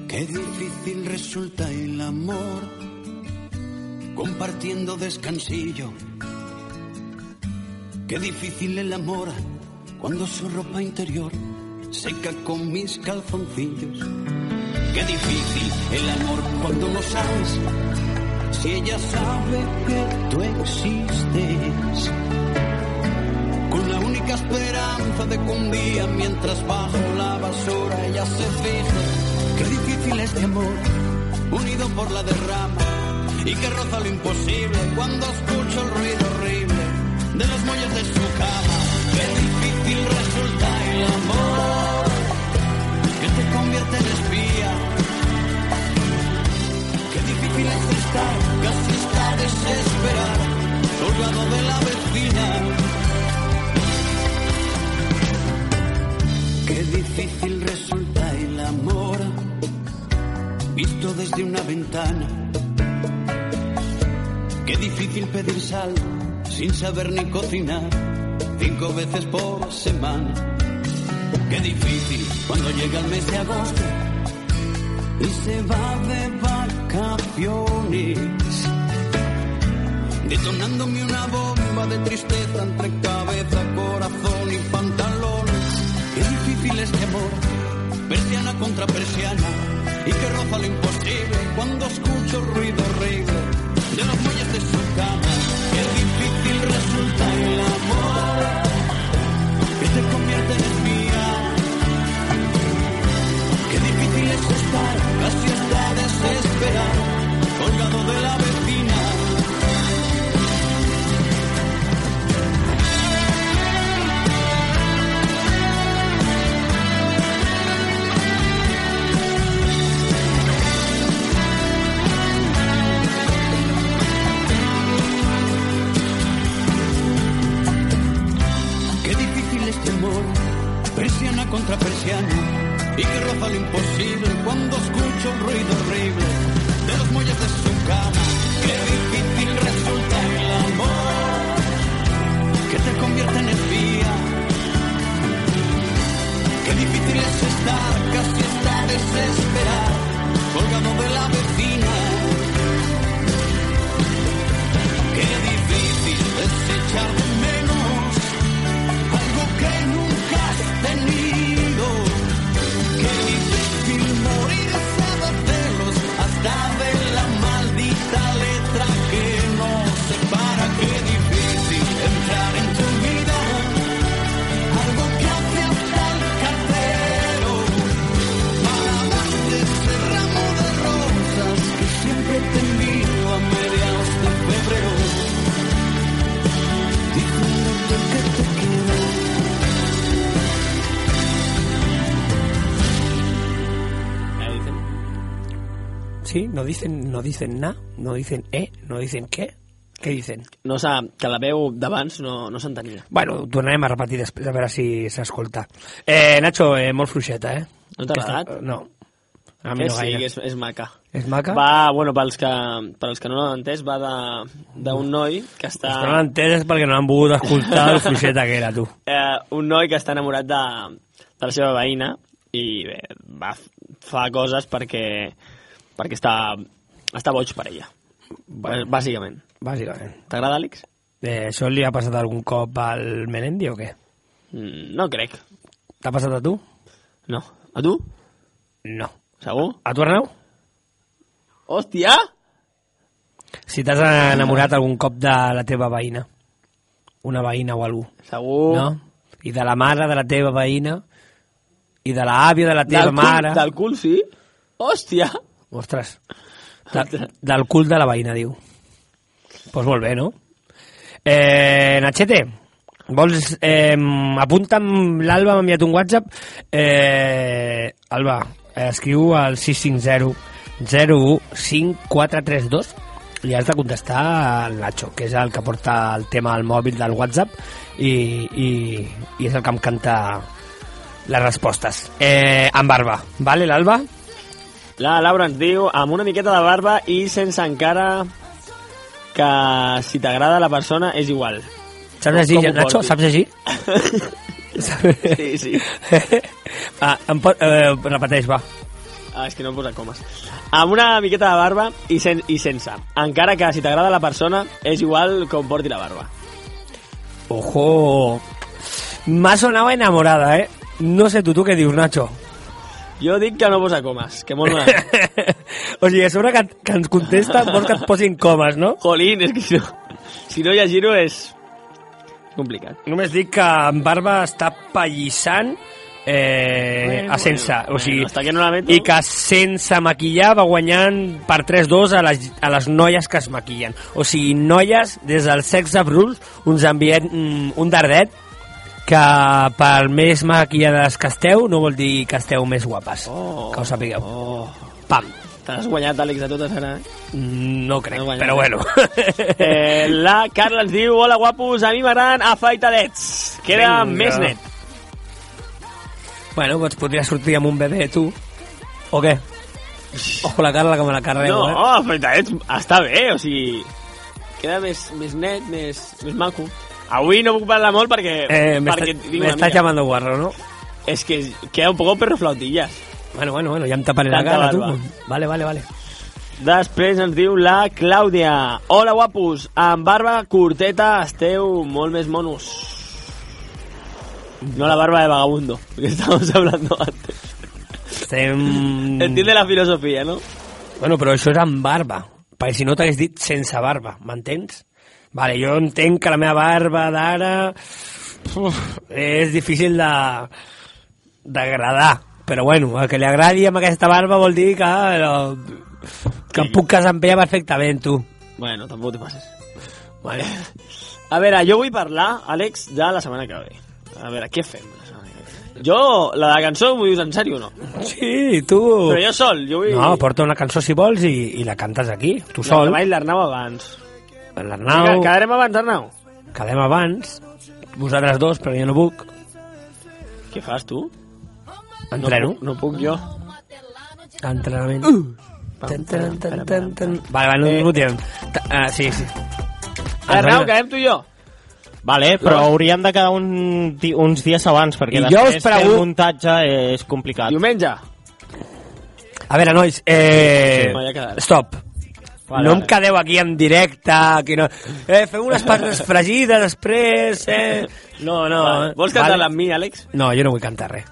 [SPEAKER 14] Qué difícil resulta el amor compartiendo descansillo. Qué difícil el amor cuando su ropa interior seca con mis calzoncillos. Qué difícil el amor cuando no sabes si ella sabe que tú existes. Con la única esperanza de que un día mientras bajo la basura ella se fije. Qué difícil este amor, unido por la derrama, y que roza lo imposible cuando escucho el ruido horrible de los muelles de su cama. Qué difícil resulta el amor, que te convierte en espía. Qué difícil es estar, casi estar desesperar, colgado de la vecina. Qué difícil resulta el amor visto desde una ventana. Qué difícil pedir sal sin saber ni cocinar cinco veces por semana. Qué difícil cuando llega el mes de agosto y se va de vacaciones. Detonándome una bomba de tristeza entre cabeza, corazón y pantalones. Qué difícil este amor, persiana contra persiana, y que roza lo imposible cuando escucho ruido horrible de los muelles de su cama. Qué difícil resulta el amor que te convierte en espía. Qué difícil es estar, casi hasta desesperado, colgado de la vecina. Qué difícil es temor, persiana contra persiana, y que roza lo imposible cuando escucho un ruido horrible de los muelles de su cama. Qué difícil resulta el amor, que te convierte en espía. Qué difícil es estar, casi está desesperado, colgado de la vecina. Qué difícil es echar de menos algo que nunca has tenido. Qué difícil morirse de celos hasta de la maldita letra que no separa. Qué difícil entrar en tu vida. Algo que hace hasta el cartero. Para darte ese ramo de rosas que siempre te envío a mediados de febrero. Diciéndote que te quiero.
[SPEAKER 3] Sí, no dicen, no dicen na, no dicen e, no dicen què. Què dicen?
[SPEAKER 4] No s'ha... Que la veu d'abans no, no s'entenia.
[SPEAKER 3] Bueno, ho tornarem a repetir després, a veure si s'escolta. Eh, Nacho, eh, molt fluixeta, eh?
[SPEAKER 4] No t'ha agradat?
[SPEAKER 3] No. A mi
[SPEAKER 4] Que
[SPEAKER 3] no
[SPEAKER 4] sí,
[SPEAKER 3] gaire.
[SPEAKER 4] que és, és maca.
[SPEAKER 3] És maca?
[SPEAKER 4] Va, bueno, pels que, pels que no l'han entès, va de- d'un noi que està...
[SPEAKER 3] No l'han entès és perquè no l'han volgut escoltar el fluixeta que era, tu.
[SPEAKER 4] eh, un noi que està enamorat de, de la seva veïna i bé, va, fa coses perquè, perquè està, està boig per ella. Bueno. Bàsicament.
[SPEAKER 3] Bàsicament.
[SPEAKER 4] T'agrada, Àlex?
[SPEAKER 3] Eh, això li ha passat algun cop al Melendi o què?
[SPEAKER 4] Mm, No crec.
[SPEAKER 3] T'ha passat a tu?
[SPEAKER 4] No. A tu?
[SPEAKER 3] No.
[SPEAKER 4] Segur?
[SPEAKER 3] A tu, Arnau?
[SPEAKER 4] Hòstia!
[SPEAKER 3] Si t'has enamorat algun cop de la teva veïna. Una veïna o algú.
[SPEAKER 4] Segur.
[SPEAKER 3] No? I de la mare de la teva veïna. I de l'àvia de la teva
[SPEAKER 4] Del cul-
[SPEAKER 3] mare.
[SPEAKER 4] Del cul, sí? Hòstia!
[SPEAKER 3] Ostres. De, del cul de la veïna, diu. Doncs pues molt bé, no? Eh, Nachete, vols... Eh, apunta'm l'Alba, m'ha enviat un WhatsApp. Eh, Alba, eh, escriu al 650 015432 li has de contestar al Nacho, que és el que porta el tema al mòbil del WhatsApp i, i, i és el que em canta les respostes. Eh, amb barba, vale, l'Alba?
[SPEAKER 4] La Laura ens diu, amb una miqueta de barba i sense encara que si t'agrada la persona és igual.
[SPEAKER 3] Saps llegir,
[SPEAKER 4] Com ho
[SPEAKER 3] Nacho?
[SPEAKER 4] portis?
[SPEAKER 3] Saps llegir?
[SPEAKER 4] Sí, sí.
[SPEAKER 3] ah, em pot, eh, repeteix, va.
[SPEAKER 4] Ah, és que no he posat comes. Amb una miqueta de barba i, sen i sense. Encara que si t'agrada la persona és igual com porti la barba.
[SPEAKER 3] Ojo. M'ha sonat enamorada, eh? No sé tu, tu què dius, Nacho.
[SPEAKER 4] Jo dic que no posa comes, que molt mal.
[SPEAKER 3] O sigui, a sobre que, que ens contesta vols que et posin comes, no?
[SPEAKER 4] Jolín, és que si no, si no llegir-ho és complicat.
[SPEAKER 3] Només dic que en Barba està pallissant eh,
[SPEAKER 4] Bueno,
[SPEAKER 3] a sense. O sigui,
[SPEAKER 4] Hasta que no la meto...
[SPEAKER 3] i que sense maquillar va guanyant per 3-2 a les, a les noies que es maquillen. O sigui, noies, des del sex of rules, uns envien mm, un dardet que per més maquillades que esteu no vol dir que esteu més guapes. Oh, que ho sapigueu. Oh. Pam.
[SPEAKER 4] T'has guanyat, Àlex, de totes ara, eh?
[SPEAKER 3] No crec,
[SPEAKER 4] Has guanyat.
[SPEAKER 3] però bueno.
[SPEAKER 4] Eh, la Carla ens diu, hola guapos, a mi m'agraden afaitadets, que era
[SPEAKER 3] Vinga.
[SPEAKER 4] més net.
[SPEAKER 3] bueno, doncs podria sortir amb un bebè, tu. O què? Ojo la Carla, que me la carrego,
[SPEAKER 4] no,
[SPEAKER 3] eh?
[SPEAKER 4] afaitadets, està bé, o sigui... Queda més, més net, més, més maco. Avui no puc parlar molt perquè...
[SPEAKER 3] eh me
[SPEAKER 4] perquè
[SPEAKER 3] está-
[SPEAKER 4] tinc
[SPEAKER 3] me
[SPEAKER 4] una
[SPEAKER 3] estás
[SPEAKER 4] amiga.
[SPEAKER 3] llamando guarro, ¿no?
[SPEAKER 4] Es que queda un poco perro flautillas.
[SPEAKER 3] Bueno, bueno, bueno, ya em taparé la
[SPEAKER 4] Tanta
[SPEAKER 3] cara, tu.
[SPEAKER 4] barba.
[SPEAKER 3] Vale, vale, vale.
[SPEAKER 4] Després ens diu la Clàudia. Hola, guapos. Amb barba curteta esteu molt més monos. No la barba de vagabundo, que estàvem hablando antes.
[SPEAKER 3] estem...
[SPEAKER 4] Entiende la filosofia, no?
[SPEAKER 3] Bueno, però això és amb barba, perquè si no t'hagués dit sense barba, m'entens? Vale, jo entenc que la meva barba d'ara uf, és difícil de d'agradar, però bueno, el que li agradi amb aquesta barba vol dir que, eh, que em puc casar amb ella perfectament, tu.
[SPEAKER 4] Bueno, tampoc te passes. Vale. A veure, jo vull parlar, Àlex, de la setmana que ve. A veure, què fem? la setmana que ve? Jo, la de la cançó, m'ho dius en sèrio o no?
[SPEAKER 3] Sí, tu...
[SPEAKER 4] Però jo sol, jo vull...
[SPEAKER 3] No, porta una cançó si vols i, i la cantes aquí, tu
[SPEAKER 4] La
[SPEAKER 3] sol.
[SPEAKER 4] que baila l'Arnau abans.
[SPEAKER 3] L'Arnau,
[SPEAKER 4] Vinga, Quedarem abans, Arnau.
[SPEAKER 3] quedem abans, vosaltres dos, però jo no puc,
[SPEAKER 4] Què fas, tu?
[SPEAKER 3] entreno.
[SPEAKER 4] No, puc- no puc jo.
[SPEAKER 3] Entrenament. Uh. Tan, tan, tan, tan, tan. Vale, vale, no eh. votem. Ah, sí, sí.
[SPEAKER 4] Arnau, quedem tu i jo.
[SPEAKER 5] Vale, però hauríem de quedar un, di- uns dies abans, perquè
[SPEAKER 3] I jo
[SPEAKER 5] després
[SPEAKER 3] us pregun-
[SPEAKER 5] fer el muntatge és complicat.
[SPEAKER 4] Diumenge.
[SPEAKER 3] A veure, nois, eh...
[SPEAKER 5] Sí, m'havia quedat.
[SPEAKER 3] stop.
[SPEAKER 5] Vale,
[SPEAKER 3] Vale, no em
[SPEAKER 5] vale.
[SPEAKER 3] quedeu aquí en directe, que no... Eh, feu unes patates fregides després, eh... No, no.
[SPEAKER 4] Vale. Vols cantar amb mi, Àlex?
[SPEAKER 3] No, jo no vull cantar res.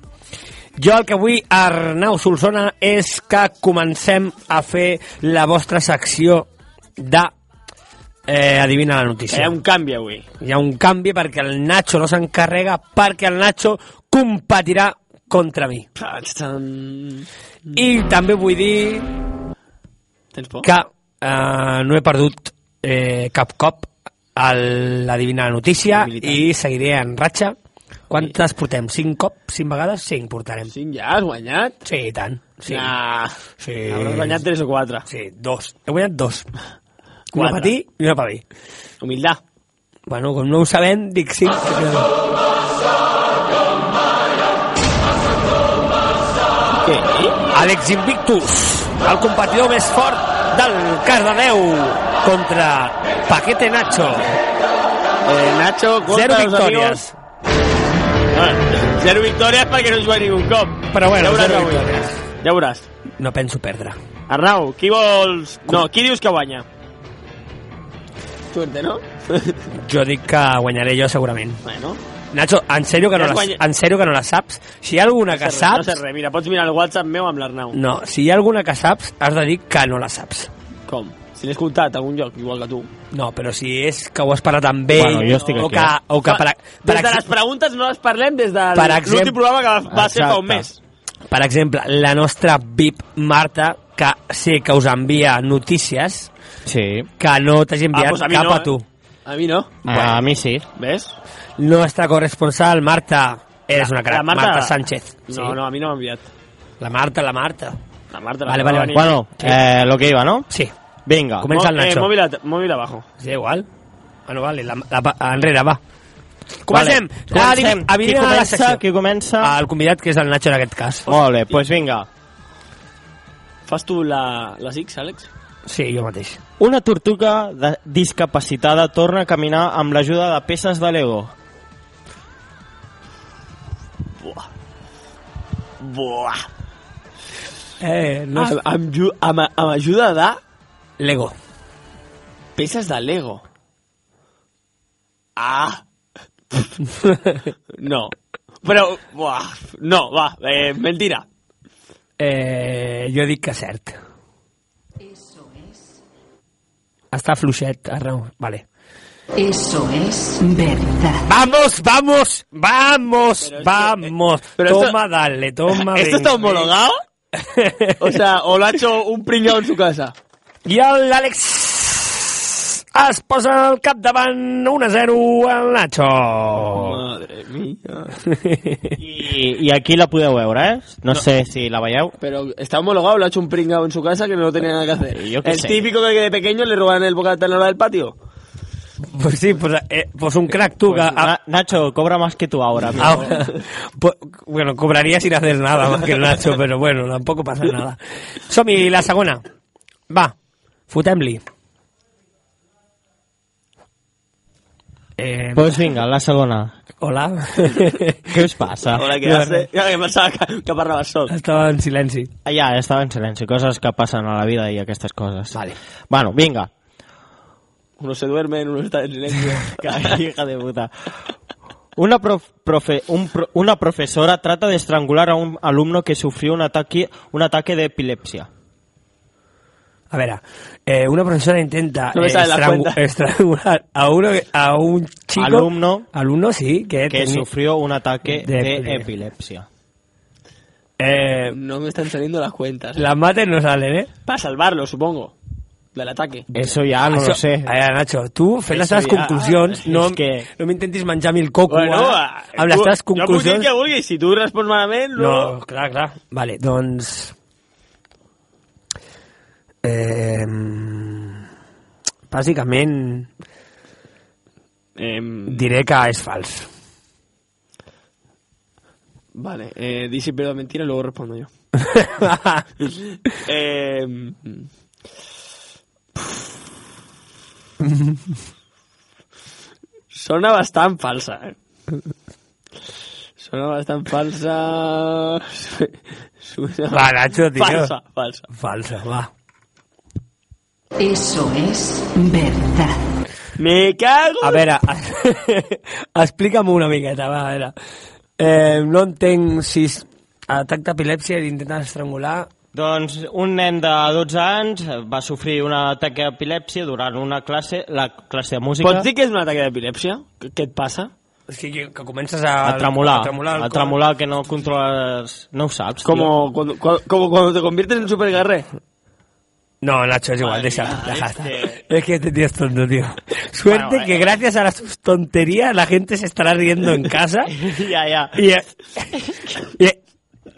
[SPEAKER 3] Jo el que vull, Arnau Solsona, és que comencem a fer la vostra secció de eh, Adivina la notícia.
[SPEAKER 4] Hi ha un canvi avui.
[SPEAKER 3] Hi ha un canvi perquè el Nacho no s'encarrega, perquè el Nacho competirà contra mi. I també vull dir
[SPEAKER 4] Tens por?
[SPEAKER 3] que eh, no he perdut eh, cap cop a l'adivinar la notícia i seguiré en ratxa. Quantes portem? Cinc cops? Cinc vegades? Cinc portarem.
[SPEAKER 4] Cinc ja? Has guanyat?
[SPEAKER 3] Sí, i tant. Sí.
[SPEAKER 4] Nah.
[SPEAKER 3] sí.
[SPEAKER 4] Hauràs guanyat tres o quatre.
[SPEAKER 3] Sí, dos. He guanyat dos. Una
[SPEAKER 4] Quatre.
[SPEAKER 3] per ti i una per mi.
[SPEAKER 4] Humildad.
[SPEAKER 3] Bueno, com no ho sabem, dic cinc.
[SPEAKER 4] Què?
[SPEAKER 3] Àlex Invictus, el competidor més fort del Cardedeu contra Paquete Nacho.
[SPEAKER 4] Eh, Nacho, contra
[SPEAKER 3] Zero
[SPEAKER 4] los
[SPEAKER 3] victòries.
[SPEAKER 4] Bueno, Zero victòries perquè no es guanyi un cop.
[SPEAKER 3] Però bueno,
[SPEAKER 4] ja
[SPEAKER 3] zero
[SPEAKER 4] veuràs avui.
[SPEAKER 3] victòries.
[SPEAKER 4] Ja veuràs.
[SPEAKER 3] No penso perdre.
[SPEAKER 4] Arnau, qui vols... No, qui dius que guanya? Suerte, no?
[SPEAKER 3] Jo dic que guanyaré jo segurament.
[SPEAKER 4] Bueno.
[SPEAKER 3] Nacho, en sèrio que no,
[SPEAKER 4] Ja has
[SPEAKER 3] la,
[SPEAKER 4] guanyat.
[SPEAKER 3] en sèrio que no la saps? Si hi ha alguna que
[SPEAKER 4] no sé res, No
[SPEAKER 3] saps...
[SPEAKER 4] sé res, mira, pots mirar el WhatsApp meu amb l'Arnau.
[SPEAKER 3] No, si hi ha alguna que saps, has de dir que no la saps.
[SPEAKER 4] Com? Si l'he escoltat a algun lloc, igual que tu.
[SPEAKER 3] No, però si és que ho has parlat amb ell...
[SPEAKER 5] Bueno, jo estic
[SPEAKER 3] o
[SPEAKER 5] aquí,
[SPEAKER 3] que,
[SPEAKER 5] eh?
[SPEAKER 3] o que per,
[SPEAKER 4] Fa-
[SPEAKER 3] per,
[SPEAKER 4] des de les
[SPEAKER 3] ex-
[SPEAKER 4] preguntes no les parlem des de
[SPEAKER 3] Per
[SPEAKER 4] l'últim
[SPEAKER 3] exemple-
[SPEAKER 4] programa que va, va ser fa un
[SPEAKER 3] Exacte.
[SPEAKER 4] mes.
[SPEAKER 3] per exemple, la nostra VIP Marta, que sé que us envia notícies
[SPEAKER 5] Sí.
[SPEAKER 3] que no t'hagi enviat
[SPEAKER 4] Ah, doncs a mi
[SPEAKER 3] cap
[SPEAKER 4] no,
[SPEAKER 3] a tu.
[SPEAKER 4] A mi no.
[SPEAKER 5] Ah, a mi sí.
[SPEAKER 4] Ves?
[SPEAKER 3] Nostra corresponsal, Marta, eres una crac,
[SPEAKER 4] La Marta-
[SPEAKER 3] Marta... Sánchez.
[SPEAKER 4] No, no, a mi no m'ha enviat.
[SPEAKER 3] La Marta, la Marta.
[SPEAKER 4] La Marta la
[SPEAKER 3] Vale, vale, vale.
[SPEAKER 5] Bueno, eh, lo que iba, ¿no?
[SPEAKER 3] Sí,
[SPEAKER 5] Venga.
[SPEAKER 3] comença Ah, el Nacho.
[SPEAKER 4] Eh, mòbil, a- mòbil abajo.
[SPEAKER 3] Sí, igual. Bueno, vale, la, la, pa- enrere, va. Comencem.
[SPEAKER 5] Vale.
[SPEAKER 3] La-
[SPEAKER 5] Comencem.
[SPEAKER 3] a- a-
[SPEAKER 5] Qui
[SPEAKER 3] a- la
[SPEAKER 5] comença?
[SPEAKER 3] secció.
[SPEAKER 5] Qui comença?
[SPEAKER 3] El convidat, que és el Nacho en aquest cas.
[SPEAKER 5] Molt bé, pues vinga.
[SPEAKER 4] Fas tu la, les X, Àlex?
[SPEAKER 3] Sí, jo mateix.
[SPEAKER 5] Una tortuga de- discapacitada torna a caminar amb l'ajuda de peces de Lego.
[SPEAKER 4] Buah.
[SPEAKER 3] Eh, no és...
[SPEAKER 4] Amb, amb, ju- amb, amb ajuda de
[SPEAKER 3] Lego.
[SPEAKER 4] peces de Lego. Ah! No. Però, buah, no, va, eh, mentira.
[SPEAKER 3] Eh, jo dic que cert. Està fluixet, Arnau. Vale.
[SPEAKER 15] Eso es verdad.
[SPEAKER 3] Vamos, vamos, vamos, vamos.
[SPEAKER 4] eh, pero esto-
[SPEAKER 3] toma, dale, toma.
[SPEAKER 4] ¿Esto
[SPEAKER 3] venga.
[SPEAKER 4] está homologado? O sea, o lo ha hecho un pringao en su casa.
[SPEAKER 3] I l'Àlex es posa al capdavant 1 a 0 al Nacho.
[SPEAKER 4] Madre mía.
[SPEAKER 5] I, I aquí la podeu veure, eh? No, no sé si la veieu.
[SPEAKER 4] Pero está homologado, lo ha hecho un pringao en su casa que no tenía nada que hacer.
[SPEAKER 5] Yo qué
[SPEAKER 4] el
[SPEAKER 5] sé.
[SPEAKER 4] típico que de pequeño le roban el bocata en la hora del patio.
[SPEAKER 3] Pues sí, pues, eh, pues un crack tú.
[SPEAKER 5] Pues,
[SPEAKER 3] que- ah,
[SPEAKER 5] Na- Nacho, cobra más que tú ahora. amigo.
[SPEAKER 3] ahora- pues, bueno, cobraría sin hacer nada más que el Nacho, pero bueno, tampoco pasa nada. Somi, la segona. Va, fotem-li. Eh,
[SPEAKER 4] Doncs
[SPEAKER 5] Pues vinga, la segona.
[SPEAKER 3] hola.
[SPEAKER 5] Què us passa?
[SPEAKER 4] Ahora que
[SPEAKER 3] No,
[SPEAKER 4] hace. Ya que pensaba que, que parlaba sol.
[SPEAKER 3] Estava en silenci.
[SPEAKER 5] Ah, Ja, estava en silenci. Coses que passen a la vida i aquestes coses.
[SPEAKER 3] Vale.
[SPEAKER 5] Bueno, vinga.
[SPEAKER 4] Uno se duerme, uno está en silencio.
[SPEAKER 5] Hija de puta.
[SPEAKER 4] Una, prof- profe- un pro- una profesora trata de estrangular a un alumno que sufrió un ataque, un ataque de epilepsia.
[SPEAKER 3] A ver, eh, una profesora intenta
[SPEAKER 4] No me
[SPEAKER 3] eh,
[SPEAKER 4] sale la
[SPEAKER 3] estrangu-
[SPEAKER 4] cuenta.
[SPEAKER 3] estrangular a, uno, a un chico...
[SPEAKER 4] Alumno.
[SPEAKER 3] Alumno, sí, que,
[SPEAKER 4] Que
[SPEAKER 3] teni-
[SPEAKER 4] sufrió un ataque
[SPEAKER 3] de
[SPEAKER 4] de,
[SPEAKER 3] epilepsia.
[SPEAKER 4] epilepsia.
[SPEAKER 3] Eh,
[SPEAKER 9] No me están saliendo las cuentas.
[SPEAKER 3] las mates no salen, ¿eh?
[SPEAKER 9] Para salvarlo, supongo. Del ataque.
[SPEAKER 4] Eso ya no
[SPEAKER 3] Això-
[SPEAKER 4] lo sé.
[SPEAKER 3] A veure, Nacho, tu fent les
[SPEAKER 4] Eso
[SPEAKER 3] teves
[SPEAKER 4] ja-
[SPEAKER 3] conclusions,
[SPEAKER 4] és
[SPEAKER 3] no,
[SPEAKER 4] que- ah,
[SPEAKER 3] no m'intentis menjar a mi el coco,
[SPEAKER 9] Bueno,
[SPEAKER 3] ara, amb les
[SPEAKER 9] tu-
[SPEAKER 3] teves
[SPEAKER 9] Jo puc dir el
[SPEAKER 3] conclusions...
[SPEAKER 9] que vulguis, si tu respons malament,
[SPEAKER 3] No,
[SPEAKER 9] no...
[SPEAKER 3] clar, clar. Vale, doncs... Eh, bàsicament
[SPEAKER 9] Em,
[SPEAKER 3] diré que és fals.
[SPEAKER 9] Vale, eh, di si pedo mentira y luego respondo yo. Eh, mm, Sona bastant falsa, eh? Sona bastant falsa... Sona-
[SPEAKER 3] Va, Nacho, tio.
[SPEAKER 9] Falsa, falsa.
[SPEAKER 3] Falsa, va.
[SPEAKER 6] Eso es verdad.
[SPEAKER 9] Me cago...
[SPEAKER 3] A veure, explica'm una miqueta, va, a veure. Eh, no entenc si és atac d'epilèpsia i intentar estrangular...
[SPEAKER 4] Doncs un nen de 12 anys va sofrir un atac d'epilèpsia durant una classe, la classe de música.
[SPEAKER 9] Pots dir que és un atac d'epilèpsia? Què què et passa?
[SPEAKER 3] És que, que, que comences a...
[SPEAKER 4] a tremolar,
[SPEAKER 3] A tremolar, el
[SPEAKER 4] a
[SPEAKER 3] cor.
[SPEAKER 4] tremolar que no controles... No ho saps, tio.
[SPEAKER 9] Como cuando, cuando- como cuando te conviertes en superguerre.
[SPEAKER 3] No, Nacho, es igual,
[SPEAKER 9] Madre
[SPEAKER 3] deja,
[SPEAKER 9] mía,
[SPEAKER 3] deja,
[SPEAKER 9] este-
[SPEAKER 3] Es que este tío es tonto, tío. Suerte
[SPEAKER 9] Bueno,
[SPEAKER 3] que
[SPEAKER 9] eh.
[SPEAKER 3] gracias a las sus tonterías la gente se estará riendo en casa.
[SPEAKER 9] ja, ja.
[SPEAKER 3] I, eh, i, eh,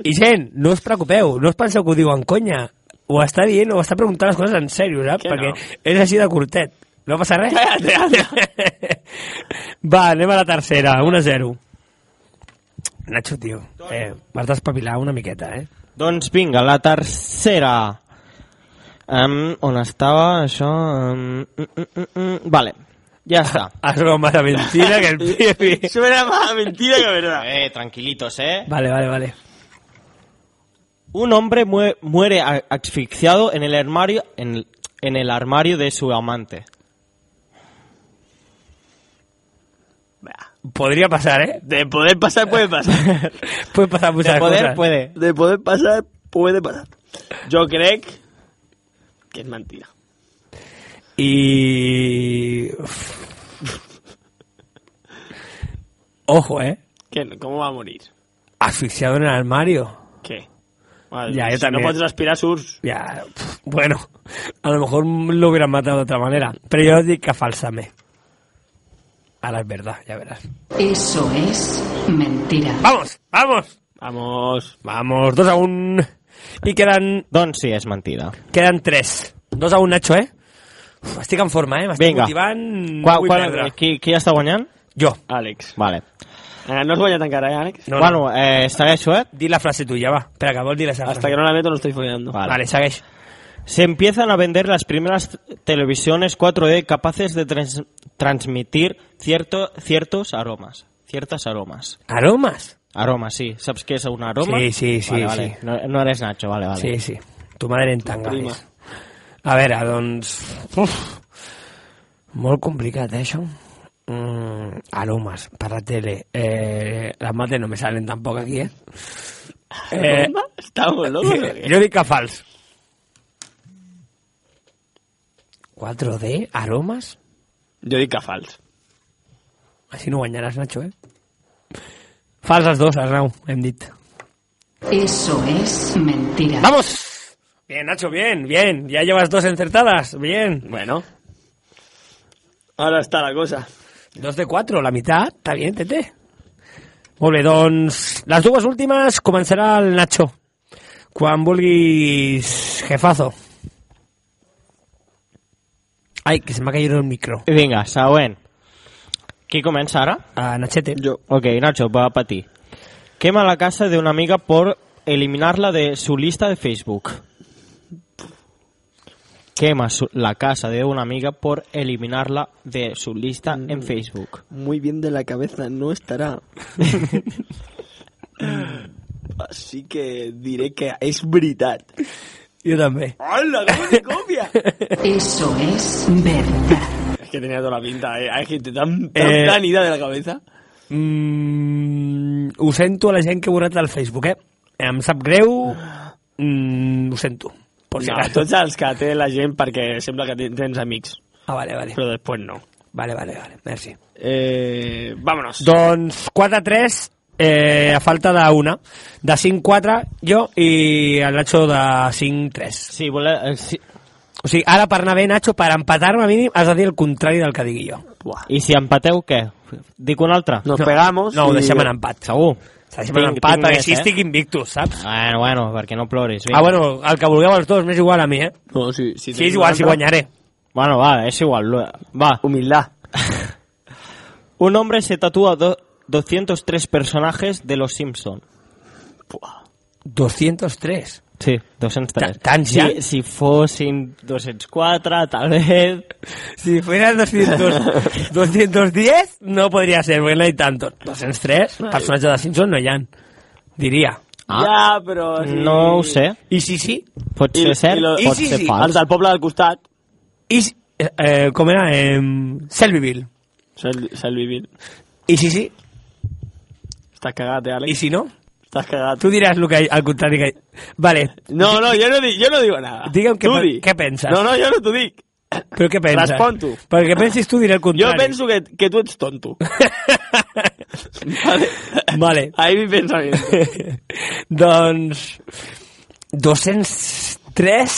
[SPEAKER 3] i gent, no us preocupeu, no us penseu que ho diu en conya. Ho està dient o està preguntant les coses en sèrio, saps?
[SPEAKER 9] Que
[SPEAKER 3] Perquè
[SPEAKER 9] no.
[SPEAKER 3] és així de curtet. No passa res.
[SPEAKER 9] Cállate,
[SPEAKER 3] Va, anem a la tercera, 1 a 0. Nacho, tio, eh, m'has d'espavilar una miqueta, eh?
[SPEAKER 4] Doncs vinga, la tercera. Um, on estava això? Um, mm, mm, mm, mm, vale, ja està.
[SPEAKER 3] Has bromat a mentida que em el pibe...
[SPEAKER 9] Suena más a mentira que a verdad.
[SPEAKER 4] Eh, tranquilitos, eh.
[SPEAKER 3] Vale, vale, vale.
[SPEAKER 4] Un hombre mue- muere a- asfixiado en el armario en, en el armario de su amante.
[SPEAKER 3] Podría pasar, ¿eh?
[SPEAKER 9] De poder pasar puede pasar.
[SPEAKER 3] Puede pasar muchas
[SPEAKER 4] De poder
[SPEAKER 3] cosas.
[SPEAKER 4] puede.
[SPEAKER 9] De poder passar, puede passar. Jo crec que és mentida.
[SPEAKER 3] Y... Uf. Ojo, ¿eh?
[SPEAKER 9] Que, no- com va morir?
[SPEAKER 3] Asfixiado en el armario.
[SPEAKER 9] Què? Madre,
[SPEAKER 3] Ja, jo
[SPEAKER 9] si
[SPEAKER 3] també.
[SPEAKER 9] no pots respirar, surts.
[SPEAKER 3] Ya, pf, bueno, a lo mejor lo hubieran matado de otra manera. Pero yo digo que falsame. Ahora es verdad, ya verás.
[SPEAKER 6] Eso es mentira.
[SPEAKER 3] ¡Vamos! ¡Vamos!
[SPEAKER 9] Vamos.
[SPEAKER 3] ¡Vamos! Dos a un. Y quedan,
[SPEAKER 4] Doncs sí, és mentida.
[SPEAKER 3] quedan tres. Dos a un, Nacho, ¿eh? Uf, estic en forma, ¿eh? M'estic
[SPEAKER 4] Vinga.
[SPEAKER 3] motivant.
[SPEAKER 4] Qual,
[SPEAKER 3] vull
[SPEAKER 4] qual,
[SPEAKER 3] perdre.
[SPEAKER 4] qui, qui està guanyant?
[SPEAKER 3] Jo.
[SPEAKER 9] Àlex.
[SPEAKER 4] Vale.
[SPEAKER 9] Eh, no has guanyat encara, eh, Àlex?
[SPEAKER 3] No, no.
[SPEAKER 4] bueno, eh, segueixo, eh?
[SPEAKER 3] Di la frase tuya, va. Espera, que vols dir la seva
[SPEAKER 9] Hasta
[SPEAKER 3] frase.
[SPEAKER 9] que no la meto no estoy follando.
[SPEAKER 4] Vale.
[SPEAKER 3] Vale, segueix.
[SPEAKER 4] Se empiezan a vender las primeras t- televisiones 4D capaces de trans- transmitir cierto, ciertos aromas. Ciertas aromas.
[SPEAKER 3] Aromas.
[SPEAKER 4] Aromas, sí. ¿Sabes qué es un aroma?
[SPEAKER 3] Sí, sí, sí,
[SPEAKER 4] Vale, vale.
[SPEAKER 3] sí.
[SPEAKER 4] No, no eres Nacho, vale, vale.
[SPEAKER 3] Sí, sí. Tu madre en tanga.
[SPEAKER 9] Prima.
[SPEAKER 3] és. A veure, doncs... Uf, molt complicat, eh, això. Mm, aromas, per la tele. Eh, les mates no me salen tampoc aquí, eh? eh
[SPEAKER 9] Estamos locos. o
[SPEAKER 4] eh?
[SPEAKER 9] qué?
[SPEAKER 3] jo dic que fals. 4D, aromas?
[SPEAKER 9] Jo dic que fals.
[SPEAKER 3] Així no guanyaràs, Nacho, eh? Fals els dos, Arnau, hem dit.
[SPEAKER 6] Eso es mentira.
[SPEAKER 3] ¡Vamos! Bien, Nacho, bien, bien. Ya llevas dos acertadas, bien.
[SPEAKER 9] Bueno. Ahora está la cosa.
[SPEAKER 3] Dos de cuatro, la mitad. Está bien, Tete. Molt bé, doncs les dues últimes començarà el Nacho. Quan vulguis, jefazo. Ai, que se m'ha caigut el micro.
[SPEAKER 4] Vinga, següent. Qui comença ara?
[SPEAKER 3] Ah, Nachete.
[SPEAKER 9] Yo.
[SPEAKER 4] Ok, Nacho, va para ti. Quema la casa de una amiga por eliminarla de su lista de Facebook. Quema su- la casa de una amiga por eliminarla de su lista
[SPEAKER 9] Mm.
[SPEAKER 4] en Facebook.
[SPEAKER 9] Muy bien de la cabeza no estará. Así que diré que es verdad.
[SPEAKER 3] Jo també.
[SPEAKER 9] ¡Hala, cómo te copia!
[SPEAKER 6] Eso es verdad.
[SPEAKER 9] Es que tenía toda la pinta, eh. Es que te dan
[SPEAKER 3] Eh,
[SPEAKER 9] tan ida de la cabeza.
[SPEAKER 3] Mm, ho sento a la gent que he borrat del Facebook, eh? Em sap greu, mm, ho sento. Por si
[SPEAKER 4] no,
[SPEAKER 3] acaso.
[SPEAKER 4] tots els que té la gent perquè sembla que ten- tens amics.
[SPEAKER 3] Ah, vale, vale.
[SPEAKER 4] Però després no.
[SPEAKER 3] Vale, vale, vale. Merci.
[SPEAKER 4] Eh, vámonos.
[SPEAKER 3] Doncs 4-3 eh, a falta d'una. De 5-4 jo i el Nacho de 5-3.
[SPEAKER 5] Sí, voler... Eh, sí.
[SPEAKER 3] O sigui, ara per anar bé, Nacho, per empatar-me mínim has de dir el contrari del que digui jo.
[SPEAKER 5] I si empateu, què? Dic una altra.
[SPEAKER 3] Nos No. pegamos No, ho i- deixem en empat.
[SPEAKER 5] Segur.
[SPEAKER 3] Deixem en empat, perquè així estic invictus, saps?
[SPEAKER 5] eh? Bueno, bueno, perquè no ploris.
[SPEAKER 3] eh? Ah, bueno, el que vulgueu els dos, m'és igual a mi, eh?
[SPEAKER 4] No, sí, sí,
[SPEAKER 3] sí és igual, si guanyaré.
[SPEAKER 5] Bueno, va, es igual. lo- Va.
[SPEAKER 4] Humildad.
[SPEAKER 5] Un hombre se tatúa do- 203 personajes de Los Simpson.
[SPEAKER 3] 203.
[SPEAKER 5] Sí, 203.
[SPEAKER 3] Ta- tants ja?
[SPEAKER 5] Si, si fossin 204, tal vez...
[SPEAKER 3] Si fueran 200, 210 no podria ser, perquè no hi ha tantos. 203 personatges de Simpson no hi ha, diria.
[SPEAKER 4] Ah. Ja, però... Sí. Pues
[SPEAKER 5] No ho sé.
[SPEAKER 3] I si sí?
[SPEAKER 5] Pot ser cert,
[SPEAKER 4] I
[SPEAKER 5] pot
[SPEAKER 4] sí,
[SPEAKER 5] ser
[SPEAKER 4] sí,
[SPEAKER 5] fals.
[SPEAKER 4] Els del poble del costat.
[SPEAKER 3] I si, eh, eh, com era? Eh, Selbyville.
[SPEAKER 4] Sel Selbyville.
[SPEAKER 3] I si sí?
[SPEAKER 4] Estàs cagat, eh, Àlex?
[SPEAKER 3] I si no?
[SPEAKER 4] Estàs cagat.
[SPEAKER 3] Tu diràs el que hi- al contrari que... Vale.
[SPEAKER 4] No, no, jo no, dic, jo no digo nada.
[SPEAKER 3] Digue'm què,
[SPEAKER 4] Tu
[SPEAKER 3] pe-
[SPEAKER 4] di.
[SPEAKER 3] què penses.
[SPEAKER 4] No, no, jo no t'ho dic.
[SPEAKER 3] Però què penses?
[SPEAKER 4] Respon tu.
[SPEAKER 3] Perquè pensis tu diré el
[SPEAKER 4] Jo
[SPEAKER 3] contrari.
[SPEAKER 4] penso que, que tu ets tonto. vale.
[SPEAKER 3] Vale.
[SPEAKER 4] Ahí mi pensamiento.
[SPEAKER 3] doncs... 203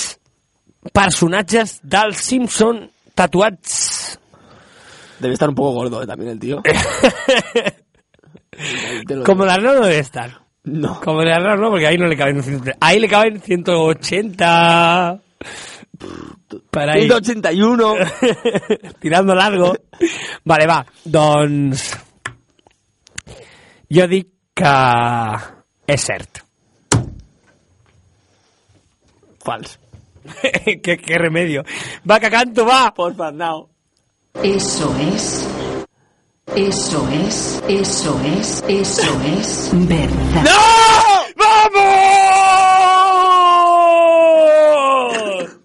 [SPEAKER 3] personatges del Simpson tatuats.
[SPEAKER 4] Debe estar un poco gordo eh, también el tío. Te lo
[SPEAKER 3] Como
[SPEAKER 4] digo.
[SPEAKER 3] el Arnau no debe estar.
[SPEAKER 4] No.
[SPEAKER 3] Como el Arnau no, porque ahí no le caben 103. Ahí le caben 180. Para ahí.
[SPEAKER 4] 181.
[SPEAKER 3] Tirando largo. Vale, va. Doncs... Jo dic que és cert.
[SPEAKER 4] Fals.
[SPEAKER 3] qué, qué remedio. Va, que canto, va.
[SPEAKER 4] Por Fandao.
[SPEAKER 15] Eso es. Eso es. Eso es. Eso es. Verdad.
[SPEAKER 3] ¡Vamos!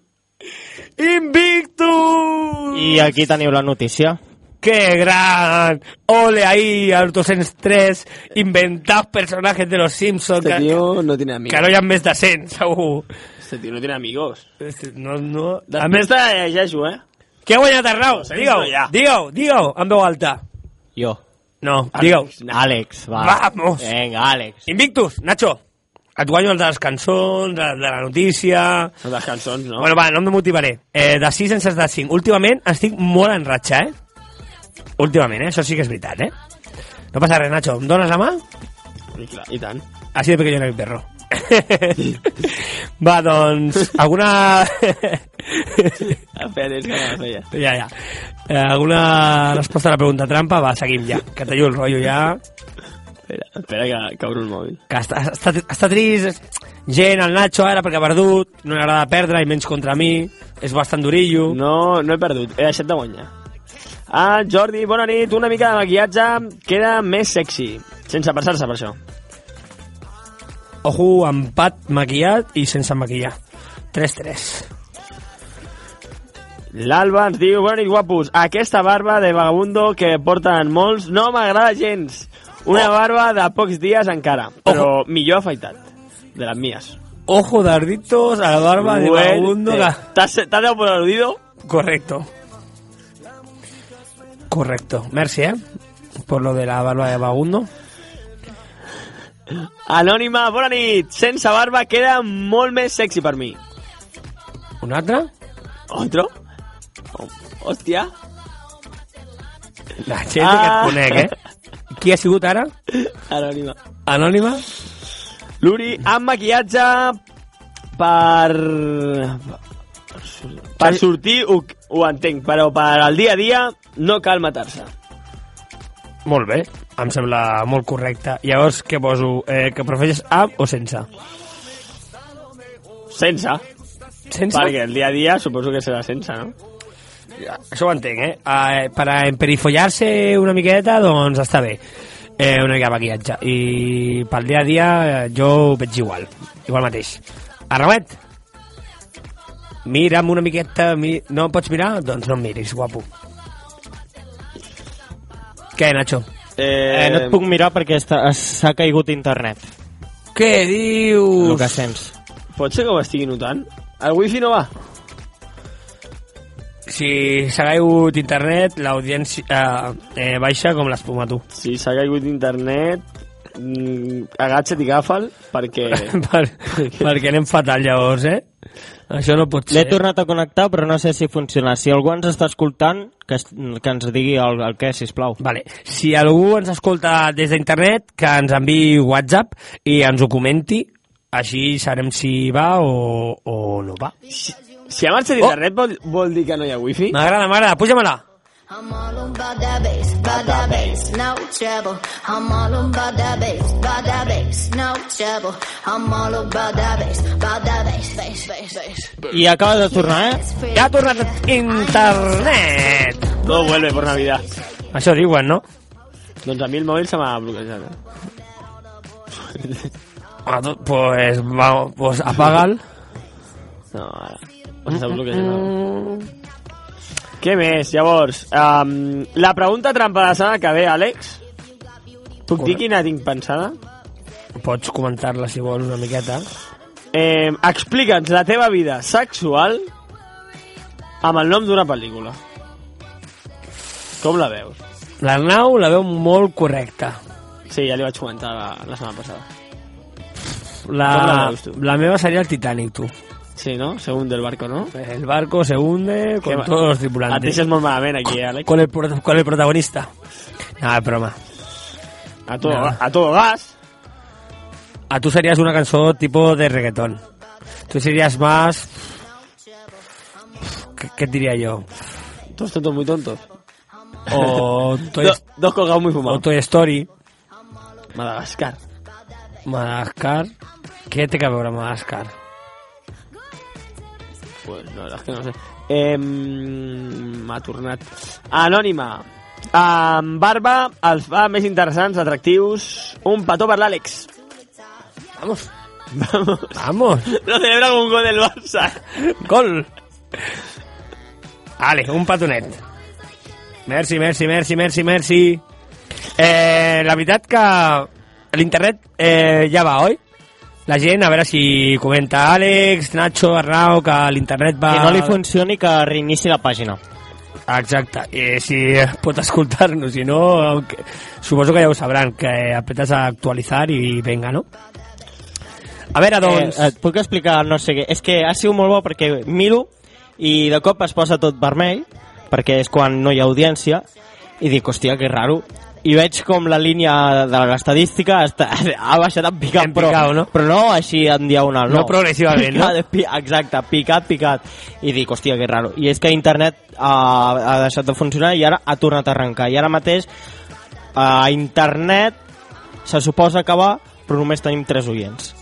[SPEAKER 3] ¡Invictus!
[SPEAKER 5] I aquí teniu la notícia.
[SPEAKER 3] ¡Qué gran! ¡Ole ahí, al 203! Inventad personajes de los Simpsons
[SPEAKER 4] Este
[SPEAKER 3] que,
[SPEAKER 4] tío no tiene amigos.
[SPEAKER 3] que no hi ha més de 100, segur.
[SPEAKER 4] Este tío no tiene amigos.
[SPEAKER 3] Este, no, no...
[SPEAKER 4] La
[SPEAKER 3] A més,
[SPEAKER 4] mesa de Yashu, eh.
[SPEAKER 3] què ha guanyat Arnau?
[SPEAKER 4] sento
[SPEAKER 3] Digue-ho,
[SPEAKER 4] ja.
[SPEAKER 3] digue-ho, digue-ho, amb veu alta.
[SPEAKER 5] Jo.
[SPEAKER 3] No, digue-ho.
[SPEAKER 5] Àlex, va.
[SPEAKER 3] Vamos.
[SPEAKER 5] Vinga, Àlex.
[SPEAKER 3] Invictus, Nacho, et guanyo el de les cançons, el de la notícia...
[SPEAKER 4] Son las canciones, ¿no?
[SPEAKER 3] Bueno, va, no em motivaré. Eh, de 6 en 6 de 5. Últimament estic molt en ratxa, eh? Últimament, eh? Això sí que és veritat, eh? No passa res, Nacho. Em dones la mà?
[SPEAKER 4] y, cla- y tan.
[SPEAKER 3] Así de pequeño era mi perro. va, doncs... Alguna...
[SPEAKER 4] Espérate, es que no lo sé ya.
[SPEAKER 3] ja, ja. Eh, alguna resposta a la pregunta trampa? Va, seguim ja. Que tallo el rotllo ja.
[SPEAKER 4] Espera, espera que, que abro el móvil.
[SPEAKER 3] Que està, està, està trist. Gent, el Nacho ara, perquè ha perdut. No li agrada perdre, i menys contra mi. És bastant durillo.
[SPEAKER 4] No, no he perdut, he deixat de guanyar. Ah, Jordi, bona nit. Una mica de maquillatge queda més sexy. Sense passar-se per això.
[SPEAKER 3] Ojo, empat maquillat i sense maquillar. 3-3.
[SPEAKER 4] L'Alba ens diu, bona nit, guapos. Aquesta barba de vagabundo que porten molts no m'agrada gens. Una
[SPEAKER 3] Oh.
[SPEAKER 4] barba de pocs dies encara, però millor afaitat. De les mies.
[SPEAKER 3] Ojo de arditos a la barba de
[SPEAKER 4] Bueno,
[SPEAKER 3] vagabundo.
[SPEAKER 4] eh,
[SPEAKER 3] la-
[SPEAKER 4] T'has t'has dado por aludido?
[SPEAKER 3] Correcto. Correcto. Merci, ¿eh? Por lo de la barba de vagabundo.
[SPEAKER 4] Anònima, bona nit. Sense barba queda molt més sexy per mi.
[SPEAKER 3] ¿Un otra?
[SPEAKER 4] Otro? Oh, hòstia.
[SPEAKER 3] La gente
[SPEAKER 4] Ah.
[SPEAKER 3] que et conec, eh? Qui ha sigut ara?
[SPEAKER 4] Anònima.
[SPEAKER 3] Anònima?
[SPEAKER 4] Luri, amb maquillatge per... Per sortir, ho, ho entenc, però per al dia a dia no cal matar-se.
[SPEAKER 3] Molt bé. Em sembla molt correcte. Llavors, què poso? Eh, que prefereixes amb o sense?
[SPEAKER 4] Sense,
[SPEAKER 3] Sense?
[SPEAKER 4] perquè el dia a dia suposo que serà sense, no?
[SPEAKER 3] Això ho entenc, eh? eh per a emperifollar-se una miqueta, doncs està bé. Eh, una mica de maquillatge. I pel dia a dia eh, jo ho veig igual. Igual mateix. Arramet! Mira'm una miqueta... Mi... No em pots mirar? Doncs no em miris, guapo. Què, Nacho?
[SPEAKER 9] Eh,
[SPEAKER 4] Eh, no et puc mirar perquè està- s'ha caigut internet.
[SPEAKER 3] Què dius?
[SPEAKER 4] El que sents.
[SPEAKER 9] Pot ser que ho estigui notant? El wifi no va?
[SPEAKER 3] Si s'ha caigut internet, l'audiència eh, eh, baixa com l'espuma, tu.
[SPEAKER 9] Si s'ha caigut internet, mm, agatxa't i agafa'l, perquè...
[SPEAKER 3] per, perquè anem fatal, llavors, eh? Això no pot
[SPEAKER 4] L'he
[SPEAKER 3] ser.
[SPEAKER 4] tornat a connectar, però no sé si funciona. Si algú ens està escoltant, que, es- que ens digui el, el què, sisplau.
[SPEAKER 3] Vale. Si algú ens escolta des d'internet, que ens enviï WhatsApp i ens ho comenti, així sabrem si va o, o no va. Oh!
[SPEAKER 9] Si ha marxat internet vol, vol dir que no hi ha wifi?
[SPEAKER 3] M'agrada, m'agrada, puja-me-la.
[SPEAKER 16] I'm all about that bass, about that bass, no trouble. I'm all about that bass, about that bass, no trouble. I'm all about that bass, about that bass, bass, bass, bass.
[SPEAKER 4] I acaba de tornar, eh?
[SPEAKER 3] Ja ha tornat internet.
[SPEAKER 9] Todo vuelve por Navidad.
[SPEAKER 3] Això diuen, no?
[SPEAKER 9] Doncs a mi el mòbil se m'ha bloquejat. Eh?
[SPEAKER 3] Ah, doncs pues, va, pues apaga'l.
[SPEAKER 9] No, ara. O s'ha bloquejat.
[SPEAKER 3] Mm.
[SPEAKER 9] Què més? Llavors, um, la pregunta trampa de la setmana que ve, Àlex. Puc dir
[SPEAKER 3] Correcte.
[SPEAKER 9] quina tinc pensada?
[SPEAKER 3] Pots comentar-la si vols una miqueta.
[SPEAKER 9] Eh, Explica'ns la teva vida sexual amb el nom d'una pel·lícula. Com la veus?
[SPEAKER 3] L'Arnau la veu molt correcta.
[SPEAKER 9] Sí, ja li vaig comentar la, la setmana passada. Com la
[SPEAKER 3] La,
[SPEAKER 9] veus tu?
[SPEAKER 3] la meva seria el Titanic, tu.
[SPEAKER 9] Sí, no? Se hunde el barco, no?
[SPEAKER 3] El barco se hunde
[SPEAKER 9] Què
[SPEAKER 3] con
[SPEAKER 9] va?
[SPEAKER 3] todos los
[SPEAKER 9] Et
[SPEAKER 3] tripulantes.
[SPEAKER 9] deixes molt malament aquí, eh, Àlex.
[SPEAKER 3] Con el, pro- con el protagonista. No, és Ah, broma.
[SPEAKER 9] A todo,
[SPEAKER 3] Nada.
[SPEAKER 9] a todo gas.
[SPEAKER 3] A tú serías una canción tipo de reggaetón. Tú serías más... ¿Qué, qué diría yo?
[SPEAKER 9] Todos tontos muy tontos.
[SPEAKER 3] O Toy,
[SPEAKER 9] Do- dos colgados muy fumados.
[SPEAKER 3] o Toy Story,
[SPEAKER 9] Madagascar.
[SPEAKER 3] Madagascar... ¿Qué te cabe ahora Madagascar?
[SPEAKER 9] Pues la verdad es que no sé. Eh, M'ha tornat. Anònima. Amb barba, els fa més interessants, atractius. Un petó per l'Àlex.
[SPEAKER 3] Vamos. Vamos. Vamos.
[SPEAKER 9] No celebra com un gol del Barça.
[SPEAKER 3] Gol. Vale, un petonet. Merci, merci, merci, merci, merci. Eh, la veritat que l'internet eh, ja va, oi? La gent, a veure si comenta Àlex, Nacho, Arnau, que l'internet va...
[SPEAKER 4] Que no li funcioni, que reinici la pàgina.
[SPEAKER 3] Exacte, i si pot escoltar-nos, si no, aunque... suposo que ja ho sabran, que apretes a actualitzar i venga, no? A veure, doncs...
[SPEAKER 4] Eh, et puc explicar, no sé què. És que ha sigut molt bo perquè miro i de cop es posa tot vermell, perquè és quan no hi ha audiència, i dic, hòstia, que raro. I veig com la línia de l'estadística està- ha baixat en picat,
[SPEAKER 3] En picado,
[SPEAKER 4] però,
[SPEAKER 3] no?
[SPEAKER 4] però no així en diagonal, no.
[SPEAKER 3] No progressivament, no?
[SPEAKER 4] Picat, pi- Exacte, picat, picat. I dic, hòstia, que raro. I és que internet ha, ha deixat de funcionar i ara ha tornat a arrencar. I ara mateix eh, a internet se suposa que va, però només tenim tres oients.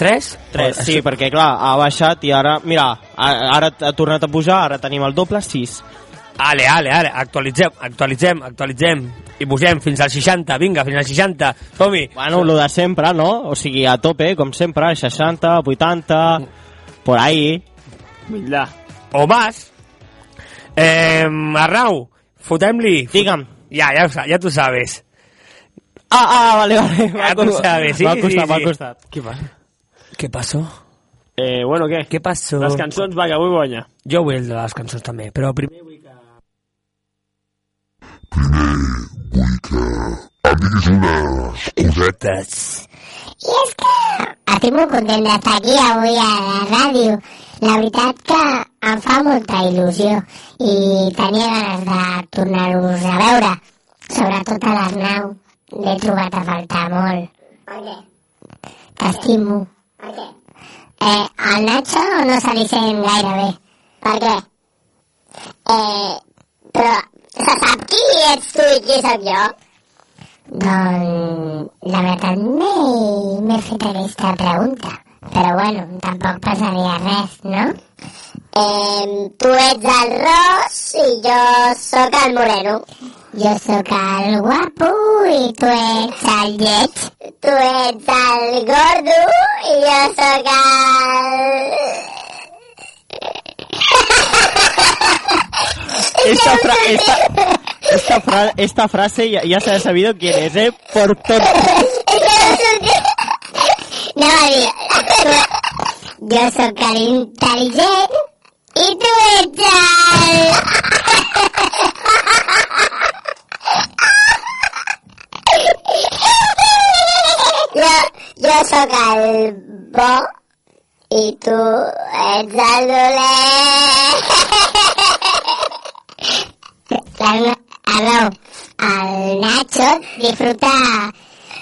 [SPEAKER 3] Tres?
[SPEAKER 4] Tres, sí, perquè clar, ha baixat i ara, mira, a- ara ha tornat a pujar, ara tenim el doble, sis.
[SPEAKER 3] Ale, ale, ale, actualitzem, actualitzem, actualitzem i posem fins al 60, vinga, fins al 60, som-hi.
[SPEAKER 4] Bueno, lo de sempre, no? O sigui, a tope, com sempre, 60, 80, por ahí.
[SPEAKER 9] Mira.
[SPEAKER 3] O más. Eh, Arnau, fotem-li.
[SPEAKER 4] Digue'm.
[SPEAKER 3] Ja, ja, ho sa- ja tu sabes.
[SPEAKER 4] Ah, ah, vale, vale.
[SPEAKER 3] Ja tu sabes, sí,
[SPEAKER 4] m'ha
[SPEAKER 3] sí,
[SPEAKER 4] costat,
[SPEAKER 3] sí.
[SPEAKER 4] m'ha costat.
[SPEAKER 3] Què passa? Què passa?
[SPEAKER 9] Eh, bueno, què?
[SPEAKER 3] Què passa?
[SPEAKER 9] Les cançons, va, que vull guanyar.
[SPEAKER 3] Jo vull el de les cançons també, però primer vull que...
[SPEAKER 10] Em diguis unes cosetes.
[SPEAKER 13] I és que estic molt content d'estar aquí avui a la ràdio. La veritat que em fa molta il·lusió i tenia ganes de tornar-vos a veure, sobretot a l'Arnau. L'he trobat a faltar molt. T'estimo. Eh, al Nacho no se li sent gaire bé. Per què? Eh, però se sap qui ets tu i qui sóc jo? Doncs la veritat m'he- m'he fet aquesta pregunta, però bueno, tampoc passaria res, no? Eh, tu ets el ros i jo sóc el moreno. Jo sóc el guapo i tu ets el lleig. Tu ets el gordo i jo sóc el...
[SPEAKER 4] Esta, fra esta, Esta, fra- esta frase ya, ya se ha sabido quién es, ¿eh? Por todo.
[SPEAKER 13] No, digo, yo soy Karim Tarigé y tú eres el- Yo, yo soy Calvo y tú eres el Dulé. Perdón, al Nacho disfruta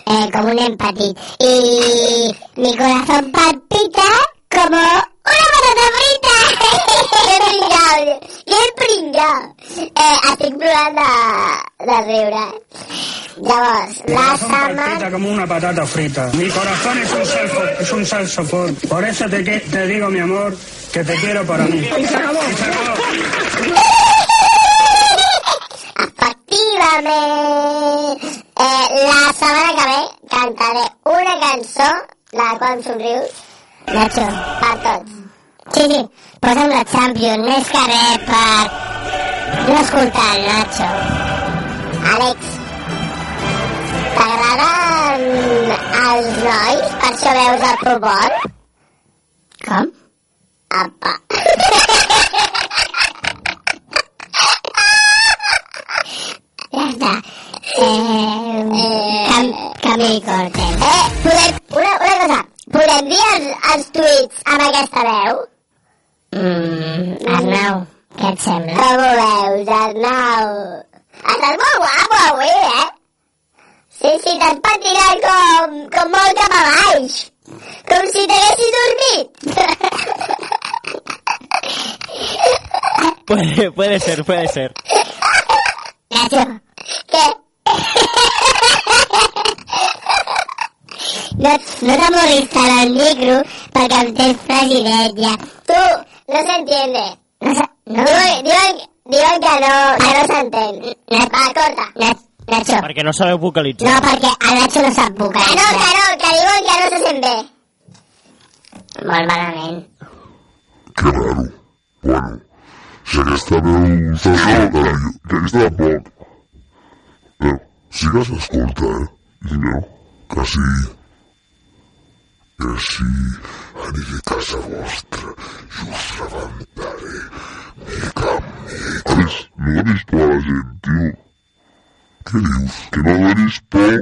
[SPEAKER 13] eh, como un empatí. Y mi corazón palpita como una patata frita. Bien pringado, bien pringado. Eh, estic plorant de, de riure. Llavors, la Samantha...
[SPEAKER 9] como una patata frita. Mi corazón es un, salfo, es un salsofón. Por eso te, que- te digo, mi amor, que te quiero para mí.
[SPEAKER 13] Y se acabó. Efectivament. Eh, la setmana que ve cantaré una cançó, la qual em somrius. Nacho, per tots. Sí, sí, posa'm la Champions, més que res per... No escoltar el Nacho. Àlex, t'agraden els nois? Per això veus el futbol? Com? Apa. Ja està. Eh, cam, camí corte. Eh, podem, una, una cosa. Podem dir els, els tuits amb aquesta veu? Mm, Arnau, què et sembla? Com ho veus, Arnau? Estàs molt guapo avui, eh? Sí, sí, t'has patinat com, com molt cap a baix. Com si t'haguessis dormit.
[SPEAKER 4] Puede, puede ser, puede ser.
[SPEAKER 13] Nacho, ¿qué? No, no t'amorris tant el micro perquè em tens fregidet ja. Tu, no s'entiende. No, se- no. Diuen, diuen, diuen que no, que no s'entén. Va, corta. Nacho.
[SPEAKER 4] Perquè no sabeu vocalitzar.
[SPEAKER 13] No, perquè el Nacho no sap vocal. Que no, que no, que diuen que no se sent bé. Molt malament.
[SPEAKER 10] Que raro. Bueno, si aquesta veu se solta, jo, que aquesta Eh, tampoc. Però sí que s'escolta, eh? I no, que sí. Que sí, aniré a casa vostra i us rebentaré mica en mica. A més, no donis por a la gent, tio. Què dius? Que no donis por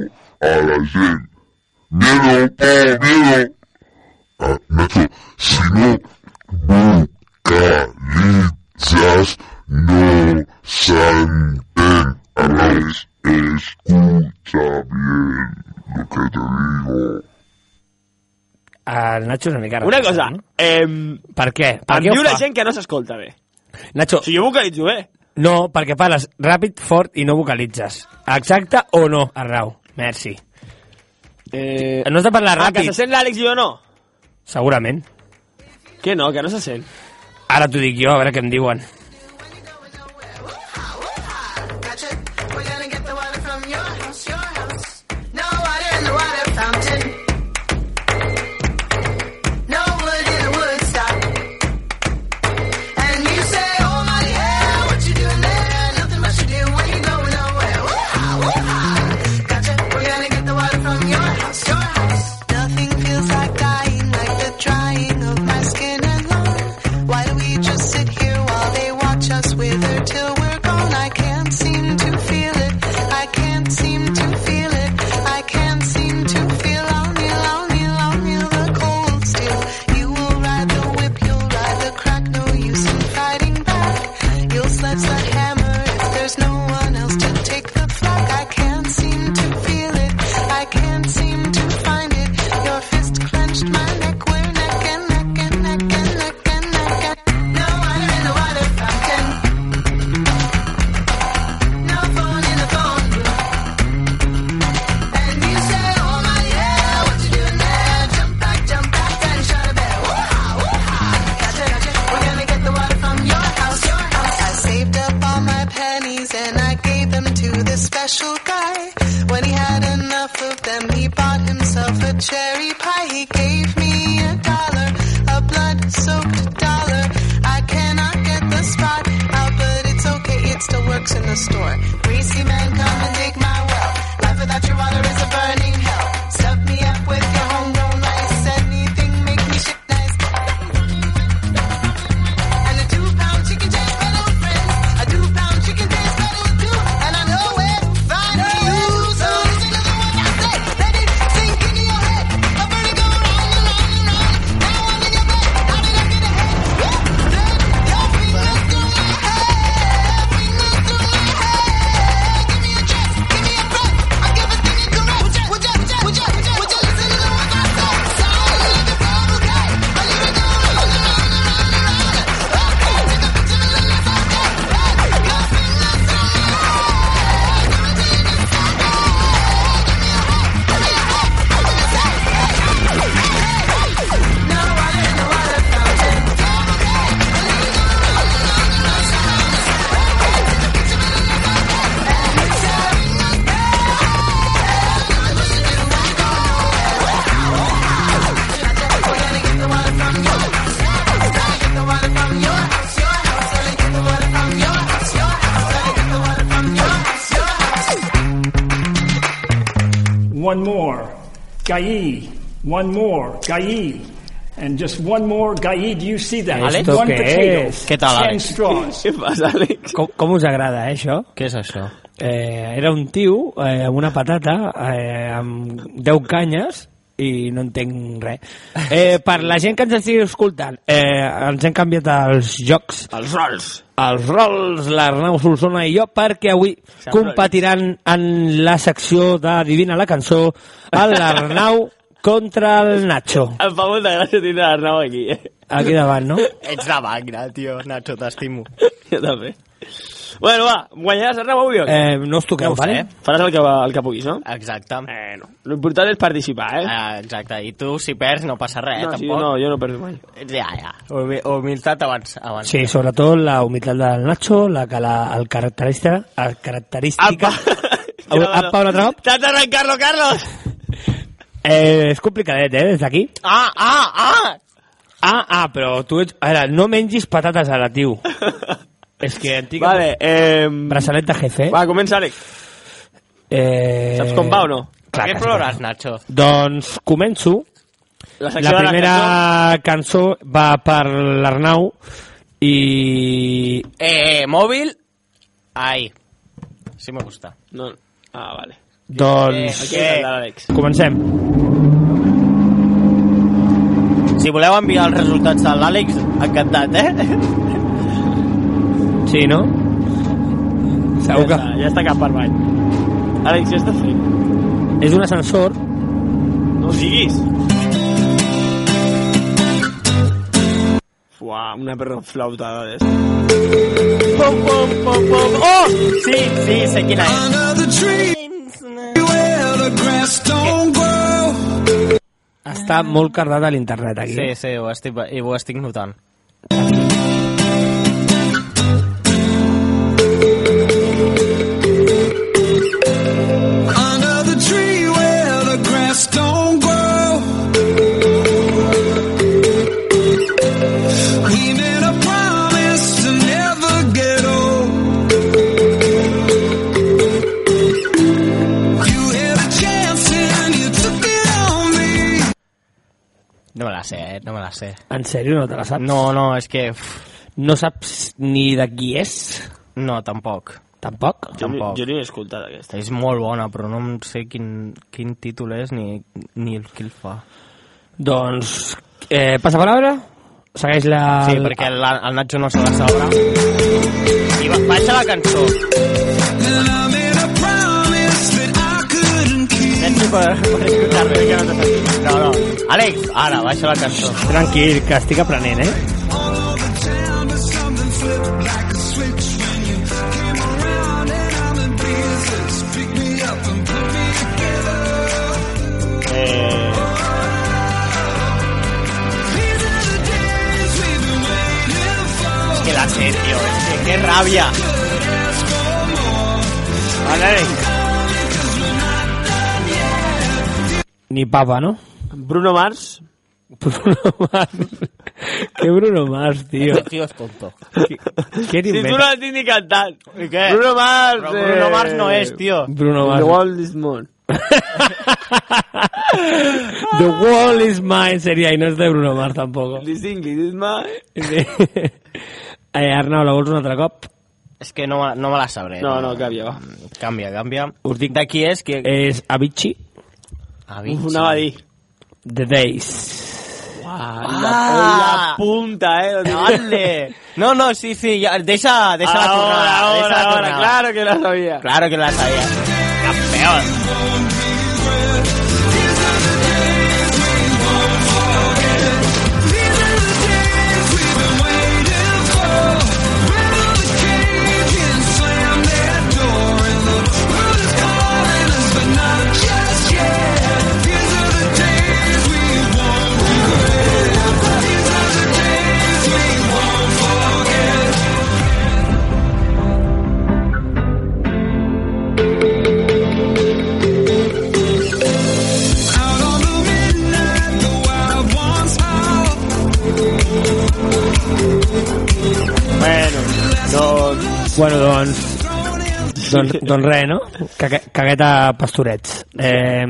[SPEAKER 10] a la gent. Miedo, por, miedo. Ah, Nacho, si no vocalitzes, no s'entén. A més, escucha bien lo que te digo.
[SPEAKER 3] eh, El Nacho és una mica...
[SPEAKER 17] Una
[SPEAKER 3] racista,
[SPEAKER 17] cosa,
[SPEAKER 3] No?
[SPEAKER 17] eh,
[SPEAKER 3] Per què? Per
[SPEAKER 17] em
[SPEAKER 3] què
[SPEAKER 17] diu
[SPEAKER 3] ho
[SPEAKER 17] la
[SPEAKER 3] fa?
[SPEAKER 17] gent que no s'escolta bé.
[SPEAKER 3] Nacho...
[SPEAKER 17] Si jo vocalitzo bé.
[SPEAKER 3] No, perquè parles ràpid, fort i no vocalitzes. Exacte o no, Arnau? Merci.
[SPEAKER 17] Eh...
[SPEAKER 3] No has de parlar
[SPEAKER 17] Ah, que
[SPEAKER 3] ràpid.
[SPEAKER 17] se sent l'Àlex i jo no?
[SPEAKER 3] Segurament.
[SPEAKER 17] Que no, que no se sent.
[SPEAKER 3] Ara t'ho dic jo, a veure què em diuen.
[SPEAKER 18] Gotcha. We're gonna get the water from your house, your house. No water in the water fountain. No wood in the wood stock. And you say, oh my hell, what you doing there? Nothing much to do when you go nowhere. Woo-ha, woo-ha. Gotcha. We're gonna get the water from your house, your house. Nothing feels like dying, like the drying of my skin and lung. Why do we just sit here while they watch us wither till we're gone? I can't seem to feel it. I can't seem to feel it. I can't seem to feel lonely, lonely, lonely. The cold still. You will ride the whip, you'll ride the crack. No use in fighting back. You'll sledge the hammer if there's no one else to take the flak. I can't seem to feel it. I can't seem to find it. Your fist clenched, my neck. We're neck and neck and neck and neck and neck. And no water in the water fountain. No phone in the phone booth. And you say, oh my yeah, what you doing there? Jump back, jump back, and shout a bell. Woo-ha, woo-ha. Gotcha, gotcha. We're gonna get the water from your house, your house. I saved up all my pennies and I gave them to this special guy. When he had enough of them, he bought himself a cherry pie. He gave me a dollar, a blood-soaked dollar. I cannot get the spot out, but it's okay. It still works in the store. Recycle
[SPEAKER 3] Mm-hmm.
[SPEAKER 19] one more, Gayi, one more, Gayi, and just one more, Gayi. Do you see that?
[SPEAKER 3] ¿Esto
[SPEAKER 19] one
[SPEAKER 3] què
[SPEAKER 19] potato,
[SPEAKER 3] és?
[SPEAKER 19] ten straws.
[SPEAKER 3] Com, com us agrada, eh, això?
[SPEAKER 4] Què és això?
[SPEAKER 3] Eh, era un tio eh, amb una patata eh, amb 10 canyes i no entenc res. Eh, per la gent que ens estigui escoltant, eh, ens hem canviat els jocs.
[SPEAKER 20] Els rols.
[SPEAKER 3] Els rols, l'Arnau Solsona i jo, perquè avui
[SPEAKER 20] S'ha
[SPEAKER 3] competiran en la secció de Divina la cançó a l'Arnau contra el Nacho.
[SPEAKER 20] Em fa molta gràcia tindre l'Arnau aquí, eh?
[SPEAKER 3] Aquí davant, no?
[SPEAKER 4] Ets la magna, tio, Nacho, t'estimo.
[SPEAKER 20] Jo també. Bueno, va, guanyaràs Arnau avui o què?
[SPEAKER 3] Eh, no us
[SPEAKER 20] ho
[SPEAKER 3] toqueu,
[SPEAKER 20] sé.
[SPEAKER 3] vale?
[SPEAKER 20] Faràs el que, el que puguis, no?
[SPEAKER 4] Exacte.
[SPEAKER 20] Bueno, l'important és participar, eh?
[SPEAKER 4] Ah, exacte, i tu si perds no passa res,
[SPEAKER 20] No,
[SPEAKER 4] eh,
[SPEAKER 20] sí,
[SPEAKER 4] tampoc.
[SPEAKER 20] no, jo no perdo mai.
[SPEAKER 4] Ja, ja, Humi- humilitat abans. abans.
[SPEAKER 3] Sí, sobretot la humitat del Nacho, la, que la, el característica... El característica... Apa, apa un altre cop?
[SPEAKER 4] T'has d'arrencar-lo, Carlos!
[SPEAKER 3] Eh, és complicadet, eh, des d'aquí.
[SPEAKER 4] Ah, ah, ah!
[SPEAKER 3] Ah, ah, però tu ets... A veure, no mengis patates ara, tio. és que antic...
[SPEAKER 20] Vale, eh...
[SPEAKER 3] Braçalet de jefe.
[SPEAKER 20] Va, comença, Àlex.
[SPEAKER 3] Eh...
[SPEAKER 20] Saps com va o no?
[SPEAKER 3] Clar
[SPEAKER 4] Per
[SPEAKER 3] que
[SPEAKER 4] què
[SPEAKER 3] sí.
[SPEAKER 4] plores, Nacho?
[SPEAKER 3] Doncs començo.
[SPEAKER 20] La,
[SPEAKER 3] La primera cançó va per l'Arnau i...
[SPEAKER 4] Eh, eh, mòbil... Ai. Sí me gusta.
[SPEAKER 20] No. Ah, vale.
[SPEAKER 3] Doncs...
[SPEAKER 4] Eh, aquí és
[SPEAKER 20] l'Àlex.
[SPEAKER 3] Comencem.
[SPEAKER 4] Si voleu enviar els resultats de l'Àlex, encantat, eh?
[SPEAKER 3] Sí, no? Segur que...
[SPEAKER 20] Ja, ja està cap Ah, per avall. Àlex, ja estàs fent.
[SPEAKER 3] És un ascensor
[SPEAKER 20] No siguis. Fuà, una perra flautada d'esta.
[SPEAKER 4] Pom, pom, pom, pom. Oh! Sí, sí, sé quina és.
[SPEAKER 9] Another tree where the grass don't grow.
[SPEAKER 3] està molt cardat a l'internet aquí.
[SPEAKER 4] Sí, sí, ho estic, i ho estic notant.
[SPEAKER 9] Under the tree where the grass don't grow. We made a promise to never get old. You had a chance and you took it on me.
[SPEAKER 4] No me la sé, eh? No me la sé.
[SPEAKER 3] En sèrio, no te la saps?
[SPEAKER 4] No, no, és que... Uf,
[SPEAKER 3] No saps ni de qui és?
[SPEAKER 4] no, tampoc.
[SPEAKER 3] Tampoc?
[SPEAKER 4] Tampoc.
[SPEAKER 20] Jo ni he escoltat aquesta.
[SPEAKER 4] És molt bona, però no em sé quin, quin títol és ni, ni el, qui el fa.
[SPEAKER 3] Doncs, eh, passa paraula? Segueix la...
[SPEAKER 4] Sí, perquè el, el Nacho no se la sabrà. I va, baixa la cançó.
[SPEAKER 9] And I made a promise that I couldn't keep.
[SPEAKER 4] Sense per, per escoltar-me, que no t'ha sentit. No, no. Àlex, ara, baixa la cançó.
[SPEAKER 3] Tranquil, que estic aprenent, eh?
[SPEAKER 4] Eh, És que la sé, tio. És que, que ràbia. Àlex.
[SPEAKER 3] Ni papa, no?
[SPEAKER 20] Bruno Mars.
[SPEAKER 3] Bruno Mars. que Bruno Mars, tio.
[SPEAKER 4] Tio, és tonto.
[SPEAKER 3] Què
[SPEAKER 20] Si tu no
[SPEAKER 3] t'inventes?
[SPEAKER 20] l'has dit ni cantant.
[SPEAKER 4] I què?
[SPEAKER 20] Bruno Mars.
[SPEAKER 4] Però Bruno Mars no és, tio.
[SPEAKER 3] eh. Bruno
[SPEAKER 20] The
[SPEAKER 3] Mars.
[SPEAKER 20] world is more.
[SPEAKER 3] The wall is mine seria, i no és de Bruno Mars, tampoc.
[SPEAKER 20] This English is mine.
[SPEAKER 3] eh, Arnau, la vols un altre cop?
[SPEAKER 4] És que no, me- no me la sabré.
[SPEAKER 20] No, no, canvia, va.
[SPEAKER 4] Canvia, canvia.
[SPEAKER 3] Us dic,
[SPEAKER 4] De qui és? Qui...
[SPEAKER 3] és Avicii,
[SPEAKER 4] Ah,
[SPEAKER 20] Uf, anava a dir.
[SPEAKER 3] The Days.
[SPEAKER 20] Ah,
[SPEAKER 4] Ah!
[SPEAKER 20] la, la punta, eh.
[SPEAKER 4] Dale. No, no, sí, sí, ya, deixa, deixa la tornada.
[SPEAKER 20] Ahora,
[SPEAKER 4] deixa
[SPEAKER 20] ahora,
[SPEAKER 4] la
[SPEAKER 20] ahora,
[SPEAKER 4] tornada.
[SPEAKER 20] claro que la sabía.
[SPEAKER 4] Claro que la sabía. Campeón.
[SPEAKER 9] Out on the midnight, the wild ones howl.
[SPEAKER 20] Bueno, doncs...
[SPEAKER 3] Bueno, doncs, Doncs, doncs res, no? Cague- Cagueta Pastorets. Eh,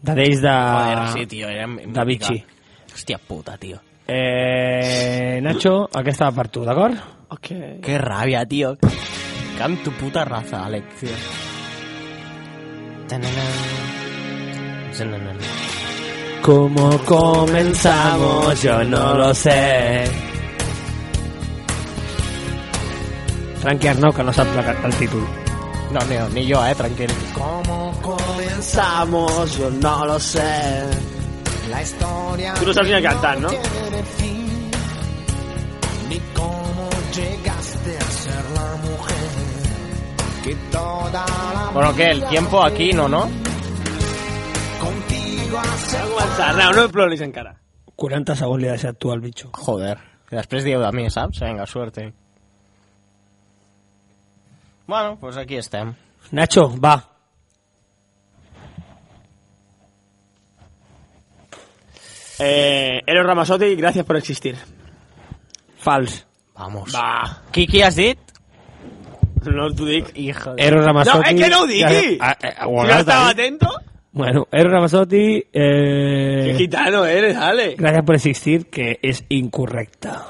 [SPEAKER 3] D'ells de...
[SPEAKER 8] Joder, sí, tio, era mítica.
[SPEAKER 3] de Vichy.
[SPEAKER 8] Hòstia puta, tio.
[SPEAKER 3] Eh, Nacho, aquesta va per tu, d'acord?
[SPEAKER 4] Ok.
[SPEAKER 8] Qué rabia, tío. Cam tu puta raza, Alex, tío.
[SPEAKER 3] ¿Cómo comenzamos? Yo no lo sé. Tranqui Arnau, que no sap la- el títol.
[SPEAKER 5] No, ni, ni jo, eh, tranquil.
[SPEAKER 8] ¿Cómo comenzamos? Yo no lo sé. La historia.
[SPEAKER 4] Tú no sabes ni cantar, ¿no?
[SPEAKER 8] tiene fin, Ni cómo llegaste a ser la mujer que toda la
[SPEAKER 5] Bueno, que el tiempo aquí no, no?
[SPEAKER 8] contigo ha sido.
[SPEAKER 4] Arnau, no em ploris encara.
[SPEAKER 3] 40 segons li ha deixat tu al bitxo.
[SPEAKER 5] Joder. I després dieu de mi, saps? Vinga, suerte. Bueno, doncs pues aquí estem.
[SPEAKER 3] Nacho, va.
[SPEAKER 4] Eh, Eros Ramazotti, gracias por existir.
[SPEAKER 3] Fals.
[SPEAKER 5] Vamos.
[SPEAKER 4] Va.
[SPEAKER 5] Qui, qui has dit?
[SPEAKER 4] No t'ho dic.
[SPEAKER 5] Hijo
[SPEAKER 3] Eros Ramazzotti...
[SPEAKER 4] No, és que no ho digui!
[SPEAKER 5] Ah,
[SPEAKER 3] Ja- eh, eh, ho
[SPEAKER 4] si
[SPEAKER 3] has
[SPEAKER 4] no estava
[SPEAKER 3] dit.
[SPEAKER 4] atento...
[SPEAKER 3] Bueno, Eros Ramazzotti... Eh...
[SPEAKER 4] Qué gitano eres, Ale.
[SPEAKER 3] Gracias por existir, que es incorrecta.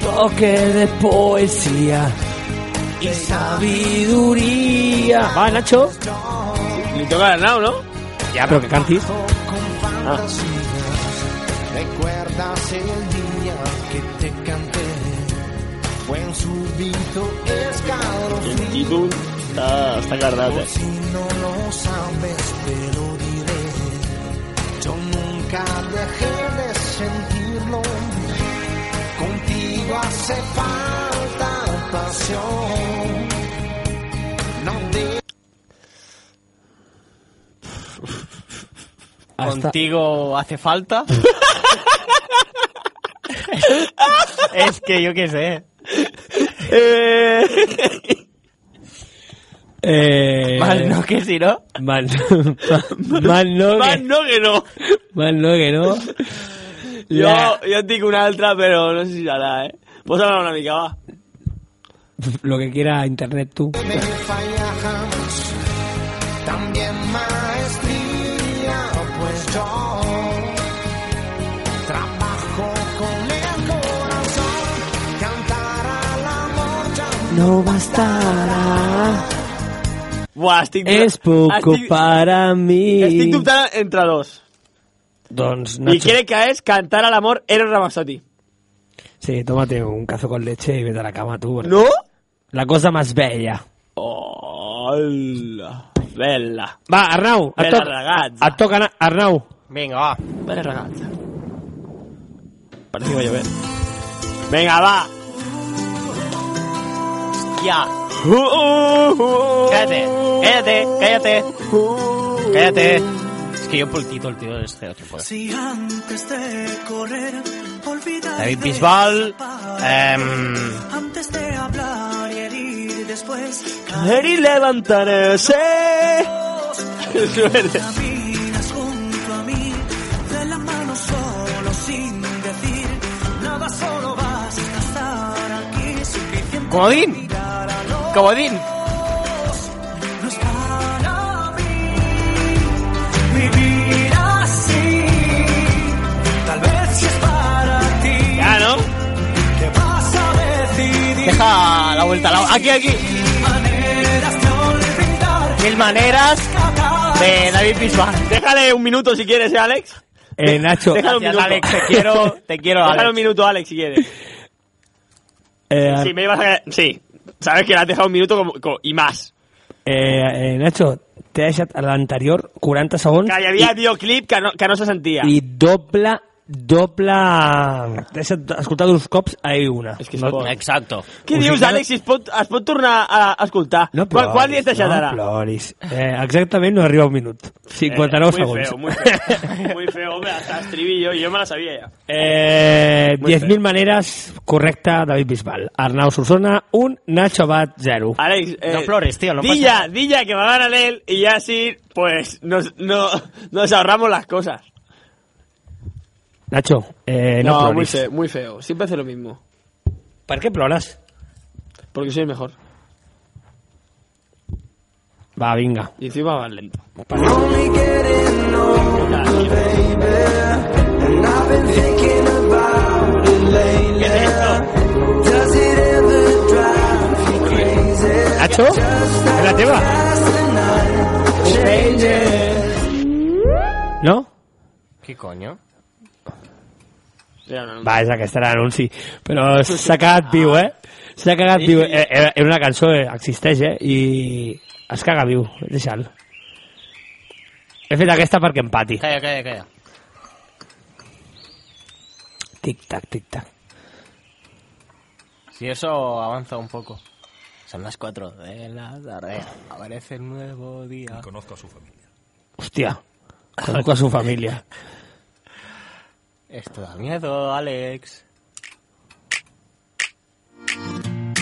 [SPEAKER 3] Toque de poesía y sabiduría. Va, Nacho.
[SPEAKER 4] Li toca a Arnau, ¿no?
[SPEAKER 3] Ya, pero que cantis.
[SPEAKER 8] ¿Recuerdas el día que te canté? Fue un súbito escalofrío.
[SPEAKER 4] El títol està, està guardat, eh?
[SPEAKER 8] Si no lo sabes, te lo diré. Yo nunca dejé de sentirlo. Contigo hace falta pasión. No te...
[SPEAKER 5] Contigo hace falta. es que yo qué sé.
[SPEAKER 3] Eh...
[SPEAKER 5] Mal no que si no.
[SPEAKER 3] Mal, mal, mal no.
[SPEAKER 4] Más no que no.
[SPEAKER 3] que- Mal no que no.
[SPEAKER 4] Jo,
[SPEAKER 3] La-
[SPEAKER 4] jo et dic una altra, però no sé si serà, eh? Posa-la una mica, va.
[SPEAKER 3] Lo que quiera internet tú.
[SPEAKER 8] falla jamás. También maestría, pues yo trabajo con el corazón. Cantar al amor ya
[SPEAKER 3] No bastará.
[SPEAKER 4] Buah, estic...
[SPEAKER 3] Es
[SPEAKER 5] Ah,
[SPEAKER 3] poco
[SPEAKER 4] estic-
[SPEAKER 3] para mí.
[SPEAKER 4] Estic dubtant entre dos.
[SPEAKER 3] Doncs,
[SPEAKER 4] I
[SPEAKER 3] Nacho.
[SPEAKER 4] crec que és Cantar a l'amor Eros Ramazzotti.
[SPEAKER 3] Sí, tómate un cazo con leche y vete a la cama tú. porque-
[SPEAKER 4] ¿No?
[SPEAKER 3] La cosa más bella.
[SPEAKER 4] Hola. Bella.
[SPEAKER 3] Va, Arnau, et,
[SPEAKER 4] Bella
[SPEAKER 3] toc,
[SPEAKER 4] ragazza.
[SPEAKER 3] et toca, Ana- Arnau.
[SPEAKER 5] Vinga, va.
[SPEAKER 4] Bella ragazza. Parece que va a llover. Venga, va.
[SPEAKER 5] Ya.
[SPEAKER 4] Uh,
[SPEAKER 5] Cállate, cállate, cállate. Cállate. Es que yo por el título, tío, este otro puedo.
[SPEAKER 6] Si antes de correr, olvidar.
[SPEAKER 5] David Bisbal. em,
[SPEAKER 6] Antes de hablar y herir después.
[SPEAKER 4] Caer y levantarse. Suerte.
[SPEAKER 6] Caminas junto a mí, de la mano solo sin decir nada, solo vas a estar aquí. Suficiente
[SPEAKER 5] Comodín. Comodín.
[SPEAKER 6] no es para mí vivir así. Tal vez si es para ti.
[SPEAKER 4] Ya, ¿no?
[SPEAKER 6] Te vas a decidir.
[SPEAKER 5] Deja la vuelta. La... Aquí, aquí.
[SPEAKER 6] Maneras de olvidar.
[SPEAKER 5] Mil maneras de David Bisbal.
[SPEAKER 4] Déjale un minuto si quieres, ¿eh, Alex.
[SPEAKER 3] Eh, Nacho.
[SPEAKER 4] Déjalo un
[SPEAKER 5] Gracias,
[SPEAKER 4] minuto.
[SPEAKER 5] Alex, te quiero, te quiero,
[SPEAKER 4] Déjalo
[SPEAKER 5] Alex.
[SPEAKER 4] un minuto, Alex, si quieres.
[SPEAKER 3] Eh,
[SPEAKER 4] Si me ibas a... Sí. Sabes que la has dejado un minuto como- como- y más.
[SPEAKER 3] eh, eh, Nacho, t'he deixat a l'anterior 40 segons
[SPEAKER 4] Que hi havia videoclip que no, que no se sentia.
[SPEAKER 3] i doble, doble... T'he deixat escoltar dos cops a una. És
[SPEAKER 4] que és por.
[SPEAKER 5] Exacto. Pues
[SPEAKER 4] Què
[SPEAKER 3] O sigui
[SPEAKER 4] dius,
[SPEAKER 3] que no-
[SPEAKER 4] Alex? Si es pot, es pot tornar a escoltar.
[SPEAKER 3] No
[SPEAKER 4] Ah, Qual,
[SPEAKER 3] ploris,
[SPEAKER 4] qual dia estàs
[SPEAKER 3] no
[SPEAKER 4] ara?
[SPEAKER 3] ploris. Eh, exactament no arriba a un minut. 59
[SPEAKER 4] muy
[SPEAKER 3] segons.
[SPEAKER 4] Eh, Feo, muy feo, muy feo, hombre, hasta estribillo, yo me la sabía ya.
[SPEAKER 3] Eh,
[SPEAKER 4] Muy
[SPEAKER 3] 10.000 maneres, correcta, David Bisbal. Arnau Solsona, un, Nacho Abad, 0.
[SPEAKER 4] Alex, eh,
[SPEAKER 3] No flores, tío, no pasa
[SPEAKER 4] di ya,
[SPEAKER 3] nada.
[SPEAKER 4] di ya que va a ganar él y ya así, pues, nos, no, nos ahorramos las cosas.
[SPEAKER 3] Nacho, eh, no,
[SPEAKER 4] no
[SPEAKER 3] ploris. eh,
[SPEAKER 4] muy feo, muy feo, siempre hace lo mismo.
[SPEAKER 3] ¿Para qué ploras?
[SPEAKER 12] Porque soy el mejor.
[SPEAKER 4] Va, vinga.
[SPEAKER 12] Y encima vas lento.
[SPEAKER 3] Nacho? És la teva? No?
[SPEAKER 4] Qui conyo?
[SPEAKER 3] Va, és aquesta era l'anunci. Però s'ha cagat viu, eh? S'ha cagat viu. Eh, eh, Era una cançó, eh? existeix, eh? I es caga viu. Deixa'l. He fet aquesta perquè empati.
[SPEAKER 4] Calla, calla, calla.
[SPEAKER 3] Tic-tac, tic-tac.
[SPEAKER 4] Si eso avanza un poco. Son las 4 de la tarde. Aparece el nuevo día. Conozco a su familia.
[SPEAKER 3] Hòstia. Conozco a su família.
[SPEAKER 4] Esto da miedo, Alex.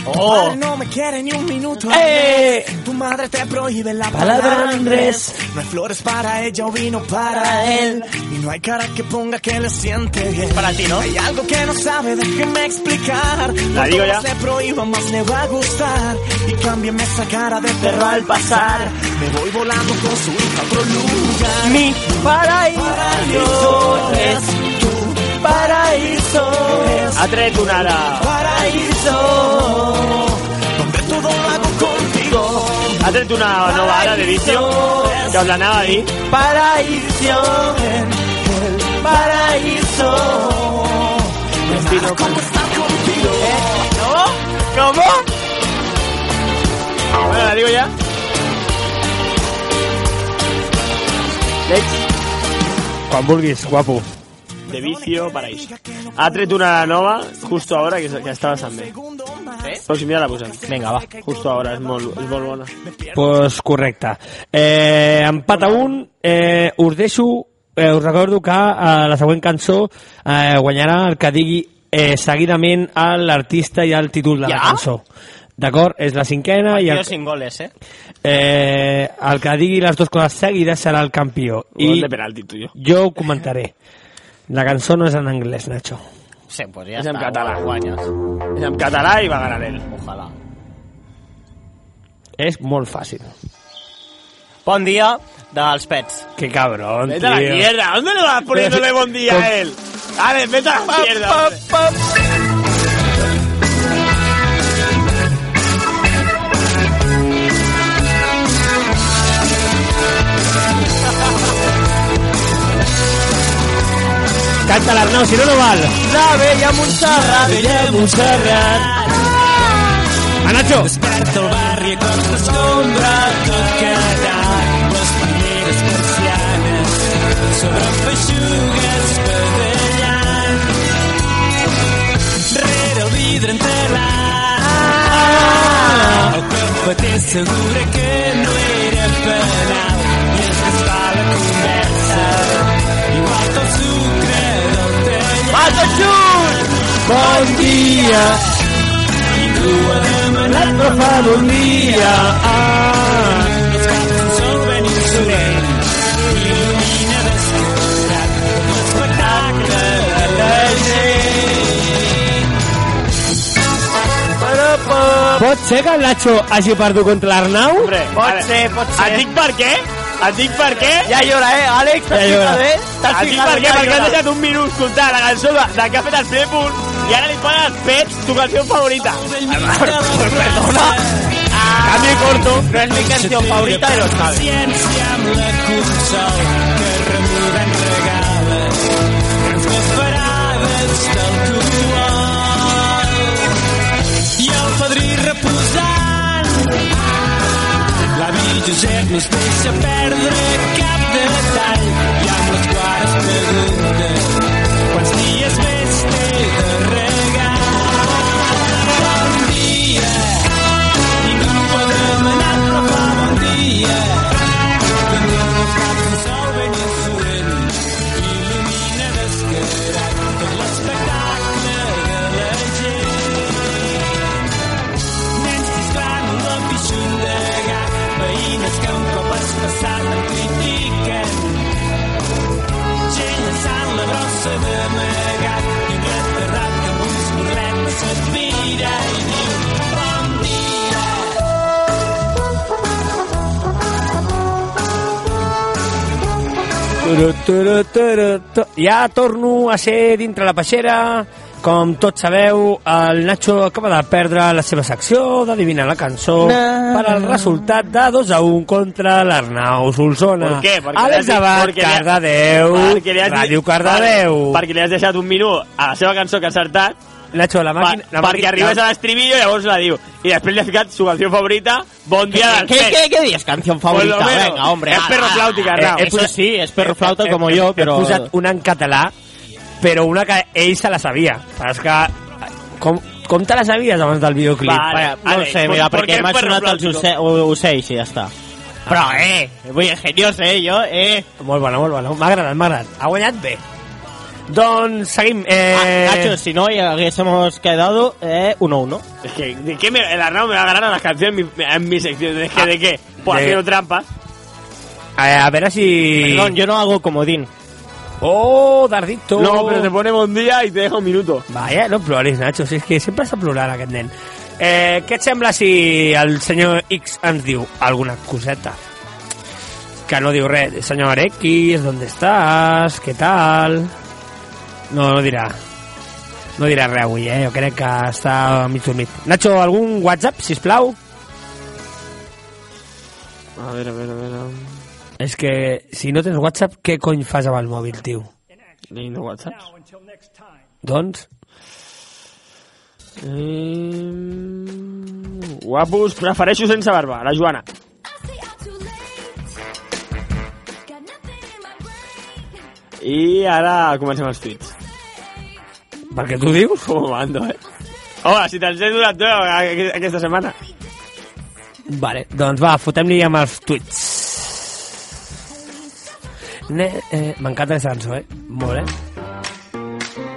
[SPEAKER 4] ¡Oh!
[SPEAKER 9] No me quiere ni un minuto.
[SPEAKER 4] ¡Eh!
[SPEAKER 9] Tu madre te prohíbe la
[SPEAKER 4] Palabra,
[SPEAKER 9] palabra,
[SPEAKER 4] Andrés.
[SPEAKER 9] Andrés. No hay flores para ella o vino para él. Y no hay cara que ponga que le siente bien.
[SPEAKER 4] Para ti, ¿no?
[SPEAKER 9] Hay algo que no sabe, déjeme explicar.
[SPEAKER 4] La digo ya.
[SPEAKER 9] Cuanto más le prohíba, más le va a gustar. Y cámbiame esa cara de perro al pasar. Me voy volando con su hija a otro lugar.
[SPEAKER 4] Mi
[SPEAKER 9] paraíso es tu paraíso. Es
[SPEAKER 12] Ha tret una ara.
[SPEAKER 9] paraíso. Donde todo lo hago contigo.
[SPEAKER 12] Ha tret una nova ara de vicio que us l'anava a dir.
[SPEAKER 9] Paraíso. El paraíso. Destino como estar contigo. ¿Eh?
[SPEAKER 12] ¿Cómo? ¿Cómo? Bueno, la digo ya. Lex,
[SPEAKER 3] Quan vulguis, guapo.
[SPEAKER 12] de vicio, paraíso. Ha tret una nova justo ahora que, que estava també. Eh? Però si mira la posem. Vinga, va. Justo ahora, és molt, és molt bona.
[SPEAKER 3] Pues correcte. Eh, empat a un, eh, us deixo, eh, us recordo que eh, la següent cançó eh, guanyarà el que digui eh, seguidament a l'artista i al títol de la
[SPEAKER 4] Ja?
[SPEAKER 3] cançó. D'acord? És la cinquena i el,
[SPEAKER 4] Partido sin goles, eh?
[SPEAKER 3] eh, el que digui les dues coses seguides serà el campió.
[SPEAKER 12] Gol de penalti, tuyo.
[SPEAKER 3] jo ho comentaré. La cançó no és en anglès, Nacho.
[SPEAKER 4] Sí, pues ya
[SPEAKER 12] Es
[SPEAKER 4] está.
[SPEAKER 12] en catalán.
[SPEAKER 4] Guanyes.
[SPEAKER 12] És en català i va ganar ell.
[SPEAKER 4] Ojalá.
[SPEAKER 3] És molt fàcil.
[SPEAKER 4] Bon dia dels pets.
[SPEAKER 3] Que cabrón,
[SPEAKER 4] Vete
[SPEAKER 12] Vete a la
[SPEAKER 4] tío.
[SPEAKER 12] mierda. ¿Dónde le vas poniéndole buen día
[SPEAKER 4] Con-
[SPEAKER 12] a él? Dale, vete a la mierda. hombre.
[SPEAKER 3] Canta l'Arnau, si no, no val. La vella Montserrat. La vella Montserrat. A Nacho.
[SPEAKER 9] Desperta el barri a costa escombra, tot quedat. Les palmeres persianes sobre feixugues pedallant. Rere el vidre enterrat, el cafeter segura que no era penal. I es que es fa la conversa, igual que el sucre del teià. Mata xut! Bon dia! Ningú ha demanat però fa bon dia. Ah, els caps un sol ben insolent il·lumina descarat l'espectacle de la gent. Però
[SPEAKER 3] Pot ser que el Nacho hagi perdut contra l'Arnau?
[SPEAKER 12] Hombre, vale. Et dic per què? Et dic per què?
[SPEAKER 4] Ja llora, eh, Àlex? T'has
[SPEAKER 3] Ja llora.
[SPEAKER 4] fixat bé? T'has
[SPEAKER 12] Et dic
[SPEAKER 4] fixat
[SPEAKER 12] per
[SPEAKER 4] bé
[SPEAKER 12] què? Perquè
[SPEAKER 4] que
[SPEAKER 12] has
[SPEAKER 4] llora?
[SPEAKER 12] deixat un minut escoltant la cançó de, de que ha fet el primer punt i ara li fan els pets tu canció favorita. Perdona. Cambio corto.
[SPEAKER 4] No es mi canción favorita de los sabes.
[SPEAKER 9] Ciència amb la consol que remugant regala grans vesprades del cotol. I el padrí reposant L'avi Josep no es deixa perdre cap detall i amb les clares preguntes quants dies més té de regar. Bon dia, ningú ho ha demanat, però fa bon dia. Que no ens cap un sol ben insolent, il·lumina descarat tot l'espectacle de la gent. Nens xisclant la pixunda gat, veïnes que un cop has passat em critiquen. Gent llançant la brasa
[SPEAKER 3] Turu, turu, turu, tu- Ja torno a ser dintre la peixera. Com tots sabeu, el Nacho acaba de perdre la seva secció d'adivinar la cançó
[SPEAKER 4] Na,
[SPEAKER 3] per al resultat de 2 a 1 contra l'Arnau Solsona.
[SPEAKER 4] Per què? Perquè li has
[SPEAKER 3] Àlex
[SPEAKER 4] dit-
[SPEAKER 3] Abad,
[SPEAKER 4] perquè li ha-
[SPEAKER 3] Cardedeu,
[SPEAKER 4] perquè li has dit-
[SPEAKER 3] Ràdio Cardedeu.
[SPEAKER 4] Per, perquè li has deixat un minut a la seva cançó que ha acertat.
[SPEAKER 3] Nacho, la màquina...
[SPEAKER 4] la perquè arribes a l'estribillo i llavors la diu. I després li ha ficat su canció favorita, Bon dia del
[SPEAKER 5] ¿Qué,
[SPEAKER 4] Pep.
[SPEAKER 5] qué, qué dices? Canción favorita.
[SPEAKER 4] Por lo menos.
[SPEAKER 5] Venga, hombre.
[SPEAKER 4] Es
[SPEAKER 5] va,
[SPEAKER 4] perro
[SPEAKER 5] va.
[SPEAKER 4] flautica,
[SPEAKER 5] Eh,
[SPEAKER 4] Arnau.
[SPEAKER 5] Eso sí, es perro flauta
[SPEAKER 3] He-
[SPEAKER 5] como
[SPEAKER 3] he-
[SPEAKER 5] yo,
[SPEAKER 3] He
[SPEAKER 5] pero...
[SPEAKER 3] posat una en català, però una que ell se la sabia. Però és que... Com, com te la sabies abans del videoclip?
[SPEAKER 5] Vale, eh, no sé, mira,
[SPEAKER 4] pues,
[SPEAKER 5] perquè m'ha sonat els oce o- ocells i ja està.
[SPEAKER 4] Ah.
[SPEAKER 5] Però, eh, vull genios, eh, jo, eh.
[SPEAKER 3] Molt bona, molt bona. M'ha agradat, m'ha agradat. Ha guanyat bé. Doncs seguim. Eh...
[SPEAKER 5] Ah, Nacho, si no, ya hubiésemos quedado eh, 1-1.
[SPEAKER 4] Es que, ¿de qué me, el Arnau me va a ganar a las canciones en mi, en mi sección? ¿De
[SPEAKER 3] Ah,
[SPEAKER 4] qué? ¿De qué? Por
[SPEAKER 5] de-
[SPEAKER 4] haciendo trampas.
[SPEAKER 3] a, a ver si...
[SPEAKER 5] Perdón, yo no hago comodín.
[SPEAKER 3] Oh, Dardito.
[SPEAKER 4] No, pero te pone bon dia y te deja un minuto.
[SPEAKER 3] Vaya, no ploris, Nacho, si és que sempre has de plorar, aquest nen. Eh, què et sembla si el senyor X ens diu alguna coseta? Que no diu res. Senyor X, ¿dónde estás? ¿Qué tal? No, no dirà. No dirà res avui, eh? Jo crec que està mig dormit. Nacho, algun WhatsApp, si plau?
[SPEAKER 4] A ver, a ver, a ver. um.
[SPEAKER 3] És que si no tens WhatsApp, què cony fas amb el mòbil, tio?
[SPEAKER 4] Leyendo WhatsApp.
[SPEAKER 3] Doncs...
[SPEAKER 4] Mm, guapos, prefereixo sense barba, la Joana. I ara comencem els tuits.
[SPEAKER 3] Perquè tu dius?
[SPEAKER 4] Com ho mando, eh? Home, si te'ls he donat tu aqu- aquesta setmana.
[SPEAKER 3] Vale, doncs va, fotem-li amb els tuits. Ne, eh, M'encanta aquesta cançó, eh? Molt, eh?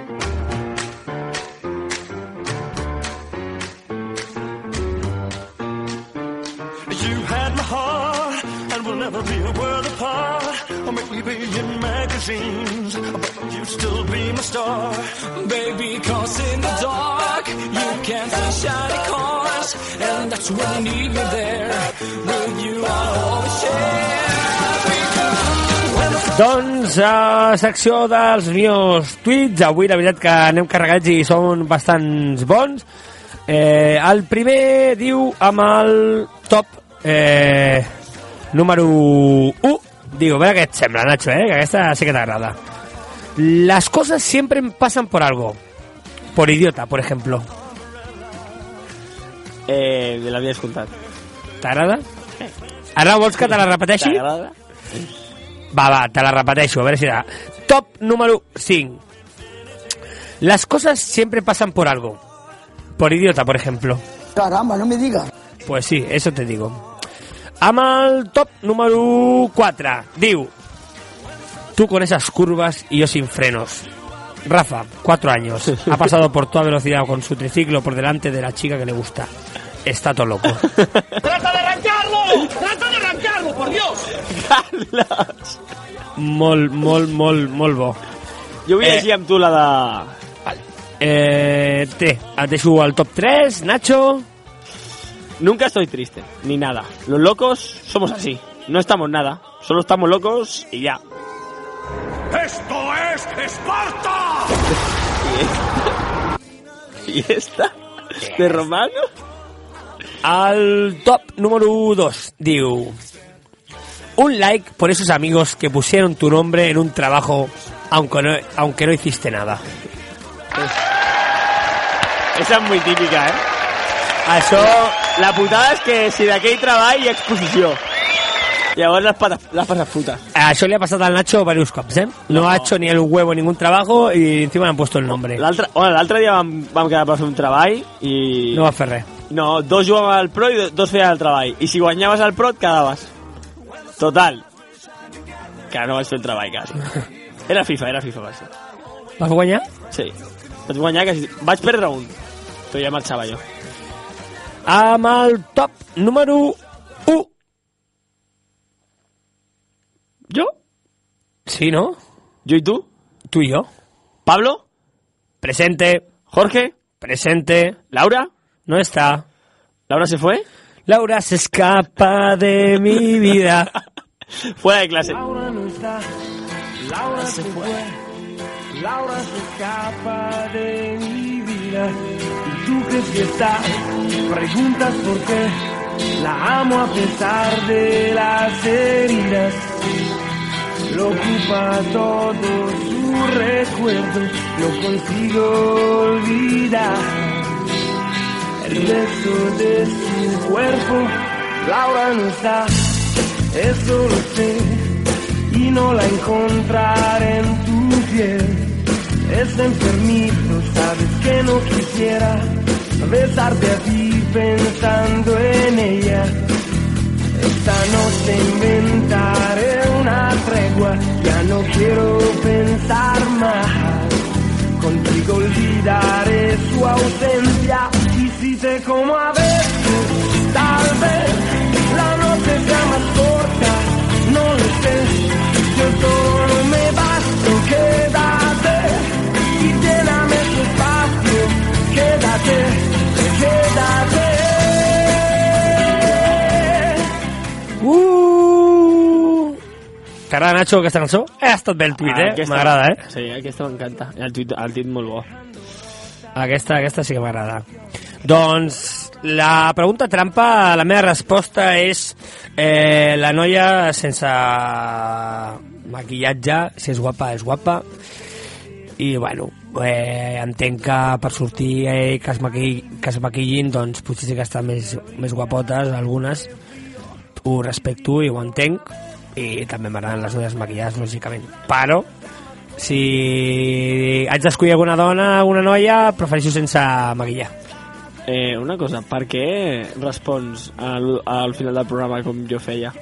[SPEAKER 8] You had my heart, and we'll never be a world apart. Or maybe be in magazines, but you still be my star. Baby, cause in the dark, you can't see shiny cars. And that's when you need me there. With you, I'll always share. When the
[SPEAKER 3] Doncs, eh, secció dels meus tuits. Avui, la veritat, que anem carregats i són bastants bons. Eh, el primer diu amb el top eh, número 1. Diu, a veure què et sembla, Nacho, eh? Que aquesta sí que t'agrada. Las cosas siempre pasan por algo. Por idiota, por ejemplo.
[SPEAKER 4] Eh, de la vida escoltat.
[SPEAKER 3] T'agrada? Ara vols que te la repeteixi?
[SPEAKER 4] T'agrada?
[SPEAKER 3] Va, va, te la repeteixo, a veure si era. Top número 5. Las cosas siempre pasan por algo. Por idiota, por ejemplo.
[SPEAKER 21] Caramba, no me digas.
[SPEAKER 3] Pues sí, eso te digo. Amb el top número 4. Diu... Tú con esas curvas y yo sin frenos. Rafa, cuatro años. Ha pasado por toda velocidad con su triciclo por delante de la chica que le gusta. Está todo loco.
[SPEAKER 8] ¡Trata de arrancarlo! ¡Trata de arrancarlo, por Dios!
[SPEAKER 3] Mol, mol, mol, molt bo.
[SPEAKER 4] Jo vull llegir
[SPEAKER 3] amb tu la de... Vale. Eh, té, et deixo al top 3, Nacho.
[SPEAKER 4] Nunca estoy triste, ni nada. Los locos somos así. No estamos nada. Solo estamos locos y ya.
[SPEAKER 8] ¡Esto es Esparta!
[SPEAKER 4] ¿Y esta? ¿De Romano?
[SPEAKER 3] Al top número 2, diu... Un like por esos amigos que pusieron tu nombre en un trabajo aunque no, aunque no hiciste nada.
[SPEAKER 4] Esa es muy típica, ¿eh?
[SPEAKER 3] Això...
[SPEAKER 4] La putada és que si d'aquell treball hi ha exposició. Llavors les patas, les patas putas.
[SPEAKER 3] Això li ha passat al Nacho varios cops, eh? No, ha hecho ni el huevo ningún trabajo y encima le han puesto el nombre.
[SPEAKER 4] L'altre bueno, l'altre dia vam, vam quedar per fer un treball i...
[SPEAKER 3] No va fer res.
[SPEAKER 4] No, dos jugàvem al pro i do- dos feien el treball. I si guanyaves al pro et quedaves. Total. Que no vaig fer el treball, quasi. Era FIFA, era FIFA, va ser.
[SPEAKER 3] Vas guanyar?
[SPEAKER 4] Sí. Vaig guanyar, quasi... Vaig perdre un. Però ja marxava jo.
[SPEAKER 3] Amb el top número 1.
[SPEAKER 4] Jo?
[SPEAKER 3] Sí, no?
[SPEAKER 4] Jo i tu?
[SPEAKER 3] Tu i jo.
[SPEAKER 4] Pablo?
[SPEAKER 3] Presente.
[SPEAKER 4] Jorge?
[SPEAKER 3] Presente.
[SPEAKER 4] Laura?
[SPEAKER 3] No está.
[SPEAKER 4] ¿Laura se fue?
[SPEAKER 3] Laura se escapa de mi vida.
[SPEAKER 4] Fuera de clase.
[SPEAKER 9] Laura se fue, Laura se escapa de mi vida. Y tú crees que está, preguntas por qué. La amo a pesar de las heridas. Lo ocupa todo su recuerdo, lo consigo olvidar. El beso de su cuerpo, Laura no está, eso lo sé, y no la encontraré en tu piel. Es enfermizo, sabes que no quisiera besarte a ti pensando en ella. Esta noche inventaré una tregua, ya no quiero pensar más. Contigo olvidaré su ausencia y si te como a veces, tal vez la noche sea más corta, no lo sé. Yo solo me basto, quédate y lléname tu espacio, quédate, quédate.
[SPEAKER 3] Uh! T'agrada, Nacho, aquesta cançó? Eh, Ha estat bé el tuit, eh?
[SPEAKER 4] Ah, Aquesta-
[SPEAKER 3] M'agrada, eh?
[SPEAKER 4] Sí, aquesta m'encanta. El tuit, el tuit molt bo.
[SPEAKER 3] Aquesta, aquesta sí que m'agrada. Doncs la pregunta trampa, la meva resposta és eh, la noia sense maquillatge, si és guapa, és guapa. I, bueno, eh, entenc que per sortir eh, que, es maquillin, que es maquillin, doncs potser sí que estan més, més guapotes, algunes. Ho respecto i ho entenc. I també m'agraden les noies maquillades, lògicament. Però si haig d'escollir alguna dona, alguna noia, prefereixo sense maquillar.
[SPEAKER 4] Eh, una cosa, per què respons al, al final del programa com jo feia?
[SPEAKER 3] No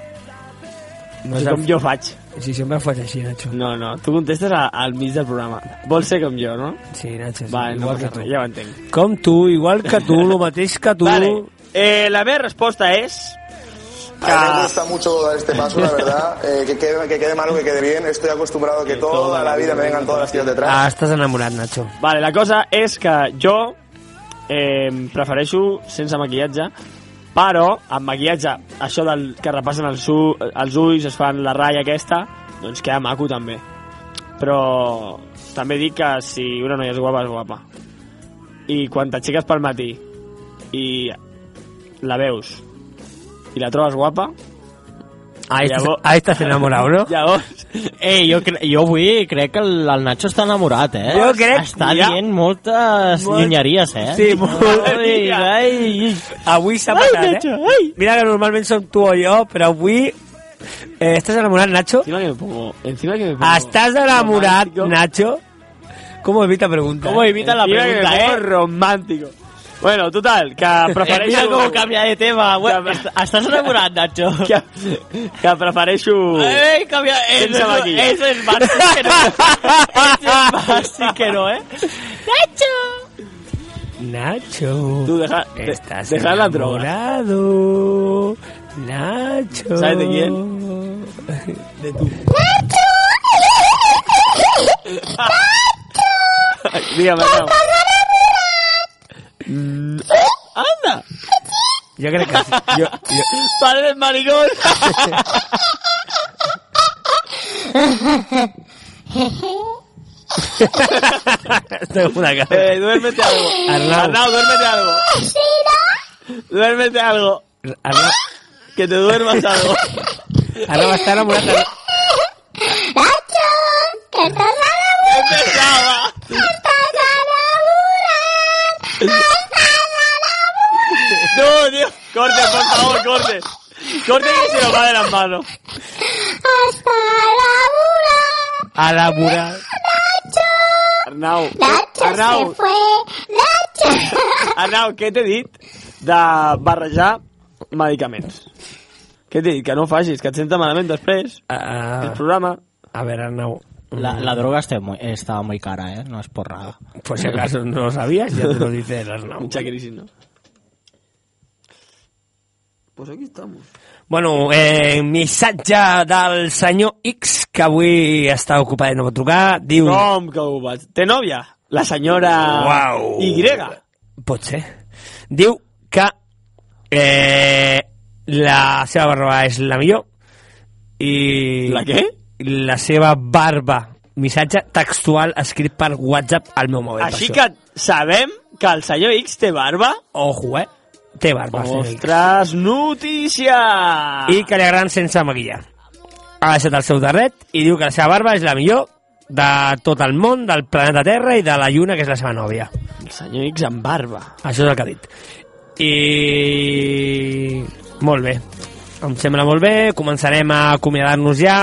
[SPEAKER 4] No
[SPEAKER 3] és
[SPEAKER 4] és
[SPEAKER 3] el-
[SPEAKER 4] com jo faig.
[SPEAKER 3] Si sempre ho faig així, Nacho.
[SPEAKER 4] No, no, tu contestes a, al mig del programa. Vols ser com jo, no?
[SPEAKER 3] Sí, Nacho. Sí.
[SPEAKER 4] Vale, no
[SPEAKER 3] Igual
[SPEAKER 4] passa
[SPEAKER 3] que tu.
[SPEAKER 4] res, ja ho entenc.
[SPEAKER 3] Com tu, igual que tu, el mateix que tu.
[SPEAKER 4] Vale, eh, la meva resposta és... Que...
[SPEAKER 12] A mí me cuesta mucho dar este paso, la verdad. Eh, que, quede, que quede mal o que quede bien. Estoy acostumbrado a que toda la vida me vengan todas las tías detrás.
[SPEAKER 3] Ah, estàs enamorat, Nacho.
[SPEAKER 4] Vale, la cosa és que jo eh, prefereixo sense maquillatge, però amb maquillatge, això del que repassen els, u, els ulls, es fan la ratlla aquesta, doncs queda maco també. Però també dic que si una noia és guapa, és guapa. I quan t'aixeques pel matí i la veus i la trobes guapa...
[SPEAKER 3] Ahí estás- ahí estás enamorado, ¿no?
[SPEAKER 4] Llavors...
[SPEAKER 5] Ei, jo, cre jo avui crec que el, el Nacho està enamorat, eh?
[SPEAKER 4] Jo crec-
[SPEAKER 5] Està
[SPEAKER 4] ja.
[SPEAKER 5] dient moltes
[SPEAKER 3] Molt-
[SPEAKER 5] llunyeries, eh?
[SPEAKER 3] Sí, molt-
[SPEAKER 5] Ai, ai, ai.
[SPEAKER 3] Avui s'ha
[SPEAKER 5] Ai,
[SPEAKER 3] passat,
[SPEAKER 5] Nacho,
[SPEAKER 3] eh? Mira que normalment som tu o jo, però avui... Eh, estàs enamorat, Nacho?
[SPEAKER 4] Encima que me pongo... Encima que me pongo...
[SPEAKER 3] Estàs enamorat, Nacho? Com evita pregunta?
[SPEAKER 4] ¿Cómo evita la
[SPEAKER 3] Encima que
[SPEAKER 4] pregunta,
[SPEAKER 3] me
[SPEAKER 4] eh?
[SPEAKER 3] pongo
[SPEAKER 4] romántico. Bueno, total, que
[SPEAKER 5] Mira
[SPEAKER 4] prefereixo...
[SPEAKER 5] com canvia de tema. Bueno,
[SPEAKER 4] Que-
[SPEAKER 5] est- estàs enamorat, Nacho?
[SPEAKER 4] Que, que prefereixo...
[SPEAKER 5] Ei, canvia...
[SPEAKER 4] Sense
[SPEAKER 5] Eso,
[SPEAKER 4] maquillar.
[SPEAKER 5] eso es básico que no. eso es básico que no, eh? Nacho!
[SPEAKER 3] Nacho.
[SPEAKER 4] Tú deja- de-
[SPEAKER 3] Estás
[SPEAKER 4] deja la droga.
[SPEAKER 3] enamorado. Nacho.
[SPEAKER 4] ¿Sabes de
[SPEAKER 3] quién? De tú.
[SPEAKER 4] Dígame, no.
[SPEAKER 5] Anda!
[SPEAKER 3] Yo creo que sí. Yo, yo-
[SPEAKER 5] Paredes maricón!
[SPEAKER 3] Tengo una cara.
[SPEAKER 4] Eh, duérmete algo.
[SPEAKER 3] Arnau.
[SPEAKER 4] Arnau, duérmete algo. Duérmete algo.
[SPEAKER 3] Arnau,
[SPEAKER 4] Que te duermas algo.
[SPEAKER 3] Arnau está enamorada.
[SPEAKER 4] Empezaba. No, tío. Corte, por favor, corte. Corte que se nos va de las manos.
[SPEAKER 3] A la mura.
[SPEAKER 4] Arnau.
[SPEAKER 13] Nacho
[SPEAKER 4] Arnau.
[SPEAKER 13] se fue, Nacho.
[SPEAKER 4] Arnau, què t'he dit de barrejar medicaments? Què t'he dit? Que no ho facis, que et senta malament després. El
[SPEAKER 3] Ah,
[SPEAKER 4] programa.
[SPEAKER 3] a ver, Arnau.
[SPEAKER 5] La, la droga está muy, estaba muy cara, ¿eh? No es por nada.
[SPEAKER 3] Por Pues si acaso no lo sabías, ya te lo dice el Arnau.
[SPEAKER 4] Mucha crisis, ¿no? Pues aquí estamos.
[SPEAKER 3] Bueno, eh, missatge del senyor X, que avui està ocupat i no pot trucar, diu...
[SPEAKER 4] Com que ho vaig... Té nòvia? La senyora...
[SPEAKER 3] Uau.
[SPEAKER 4] Y.
[SPEAKER 3] Pot ser. Diu que eh, la seva barba és la millor i...
[SPEAKER 4] La què?
[SPEAKER 3] la seva barba. Missatge textual escrit per WhatsApp al meu mòbil.
[SPEAKER 4] Així que sabem que el senyor X té barba.
[SPEAKER 3] Ojo, eh? Té barba, senyor X.
[SPEAKER 4] Ostres, notícia!
[SPEAKER 3] i que li agraden sense maquillar. Ha deixat el seu darret i diu que la seva barba és la millor de tot el món, del planeta Terra i de la Lluna, que és la seva nòvia.
[SPEAKER 4] El senyor X amb barba.
[SPEAKER 3] Això és el que ha dit. I... Molt bé. Em sembla molt bé. Començarem a acomiadar-nos ja.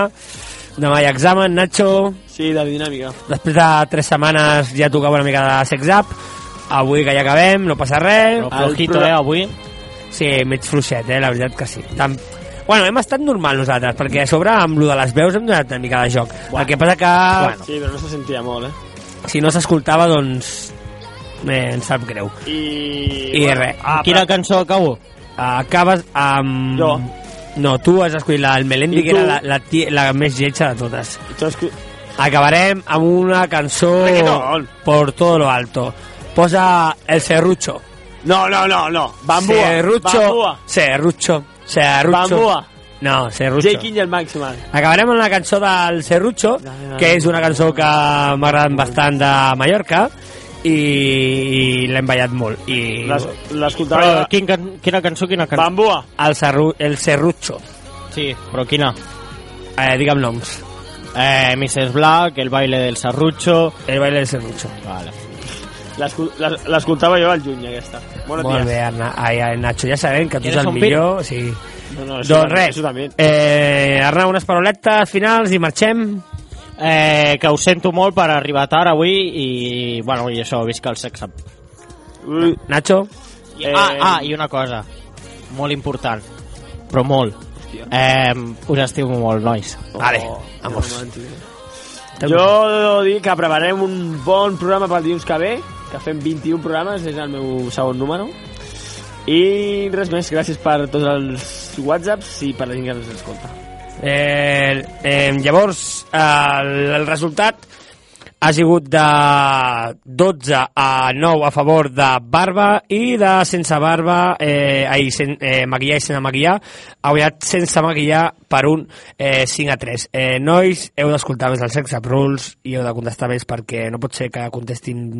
[SPEAKER 3] Demà hi ha examen, Nacho.
[SPEAKER 4] Sí, de dinàmica.
[SPEAKER 3] Després de tres setmanes ja tocava una mica de sex up. Avui que ja acabem, no passa res.
[SPEAKER 5] Però flojito, El pro- eh,
[SPEAKER 3] avui. Sí, mig fluixet, eh, la veritat que sí. Tant... Bueno, hem estat normal nosaltres, perquè a sobre amb lo de les veus hem donat una mica de joc. Bueno. El que passa que...
[SPEAKER 4] Bueno.
[SPEAKER 3] Bueno.
[SPEAKER 4] Sí, però no se sentia molt, eh?
[SPEAKER 3] Si no s'escoltava, doncs... Eh, em sap greu.
[SPEAKER 4] I...
[SPEAKER 3] I bueno, res.
[SPEAKER 4] Ah,
[SPEAKER 3] Quina cançó acabo? Acabes amb...
[SPEAKER 4] Jo.
[SPEAKER 3] No, tu has escollit la del Melendi,
[SPEAKER 4] I
[SPEAKER 3] que era
[SPEAKER 4] tu?
[SPEAKER 3] la, la, tia- la més lletja de totes.
[SPEAKER 4] Tu has...
[SPEAKER 3] Acabarem amb una cançó...
[SPEAKER 4] Reggaeton.
[SPEAKER 3] Por todo lo alto. Posa el serrucho.
[SPEAKER 4] No, no, no, no. Bambúa.
[SPEAKER 3] Serrucho.
[SPEAKER 4] Bambúa.
[SPEAKER 3] Serrucho. Serrucho.
[SPEAKER 4] Bambúa.
[SPEAKER 3] No, serrucho.
[SPEAKER 4] Jake King i el Maximal.
[SPEAKER 3] Acabarem amb la cançó del Serrucho, que és una cançó que m'agrada bastant de Mallorca i, i l'hem ballat molt. I...
[SPEAKER 4] L'has- L'escoltava...
[SPEAKER 5] Però quin can... quina cançó, quina cançó?
[SPEAKER 4] Bambua.
[SPEAKER 3] El, serru... el Serrucho.
[SPEAKER 5] Sí, però quina?
[SPEAKER 3] Eh, digue'm noms.
[SPEAKER 5] Eh, Mrs. Black, el baile del serrucho...
[SPEAKER 3] El baile del serrucho.
[SPEAKER 5] Vale.
[SPEAKER 4] l'escol- l'es- L'escoltava jo al juny, aquesta. Bona
[SPEAKER 3] Molt bé, Arna, ai, ai, Nacho, ja sabem que tu ets el millor. Sí.
[SPEAKER 4] No, no, això
[SPEAKER 3] Doncs
[SPEAKER 4] també,
[SPEAKER 3] res,
[SPEAKER 4] Això també.
[SPEAKER 3] eh, Arnau, unes paroletes finals i marxem.
[SPEAKER 5] Eh, que ho sento molt per arribar tard avui i, bueno, i això, visca el sexe.
[SPEAKER 3] Nacho?
[SPEAKER 5] Eh... Ah, ah, i una cosa, molt important, però molt. Eh, us estimo molt, nois.
[SPEAKER 4] Oh,
[SPEAKER 3] Vale,
[SPEAKER 4] vamos. Jo dic que preparem un bon programa pel dilluns que ve, que fem 21 programes, és el meu segon número. I res més, gràcies per tots els whatsapps i per la gent que ens escolta.
[SPEAKER 3] Eh, eh, llavors, eh, el, el resultat ha sigut de 12 a 9 a favor de barba i de sense barba, eh, ai, sen, eh, maquillar i sense maquillar, ha guanyat sense maquillar per un eh, 5 a 3. Eh, nois, heu d'escoltar més el Sex Up Rules i heu de contestar més perquè no pot ser que contestin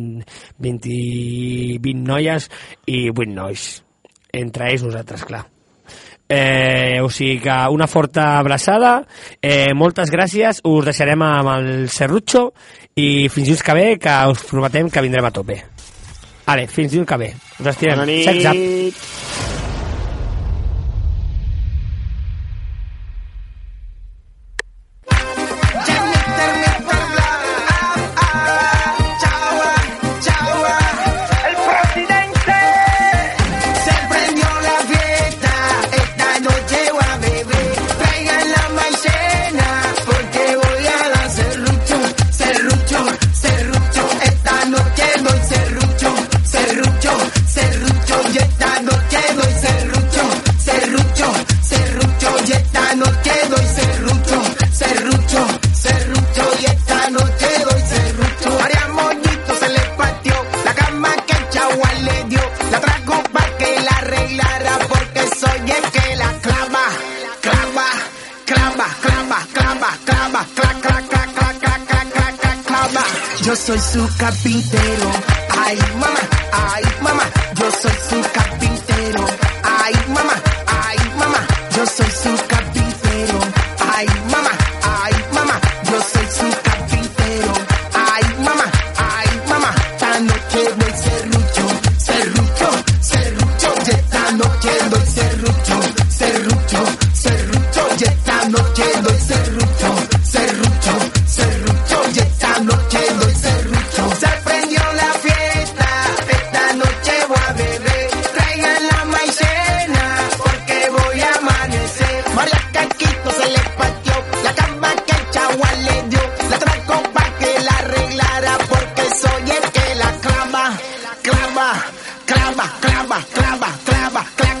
[SPEAKER 3] 20, 20 noies i 8 nois. Entre ells nosaltres, clar. Eh, o sigui que una forta abraçada, eh, moltes gràcies, us deixarem amb el Serrucho i fins dius que ve, que us prometem que vindrem a tope. Vale, fins dius que ve. Us estimem.
[SPEAKER 4] Bona nit.
[SPEAKER 3] Sex up.
[SPEAKER 8] El presidente se prendió la fiesta, esta noche voy a beber. Traigan la maicena porque voy a dar serrucho, serrucho, serrucho. Esta noche doy serrucho, serrucho, serrucho. Y esta noche doy serrucho, serrucho, serrucho. Y esta noche doy serrucho, serrucho, serrucho. Y esta noche doy serrucho. María Mollito se le partió la cama que el chaval le dio. La trajo para que la arreglara porque soy el que la clava, clava, clava, clava, clava, clava, clava, clava, clava, clava, clava, clava. Yo soy su carpintero. Ay, mamá, ay, mamá. Yo soy su carpintero. Ay, mamá, ay, mamá. Yo soy su carpintero. Ay, mamá, ay, mamá. Yo soy su carpintero. Ay, mamá, ay, mamá. Esta noche doy serrucho, serrucho, serrucho. Y esta noche doy serrucho, serrucho, serrucho. Y esta noche doy serrucho, serrucho, serrucho. Y esta noche doy serrucho. Se prendió la fiesta, esta noche voy a beber. Traigan la maicena, porque voy a amanecer. María Caquito se le partió, la cama que el chaval le dio. La trajo pa' que la arreglara, porque soy el que la clava, clava, clava, clava, clava, clava, clava, clava,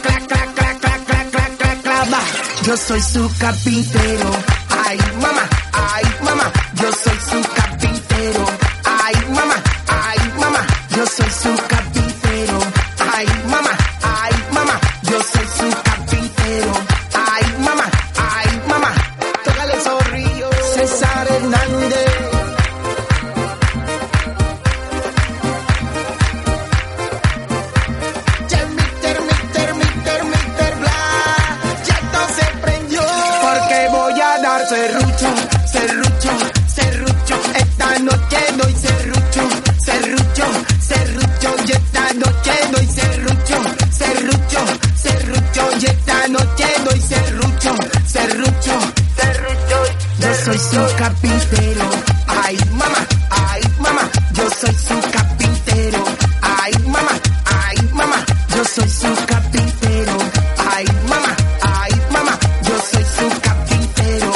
[SPEAKER 8] clava, clava, clava, clava, clava. Yo soy su carpintero, ay mamá, ay mamá, yo soy su carpintero, ay mamá, ay mamá, yo soy su carpintero, ay mamá, ay mamá, yo soy su carpintero, ay mamá, ay mamá, tócale el zorrillo. Se noche doy serrucho, serrucho, serrucho. Yo soy su carpintero. Ay, mamá, ay, mamá. Yo soy su carpintero. Ay, mamá, ay, mamá. Yo soy su carpintero. Ay, mamá, ay, mamá. Yo soy su carpintero.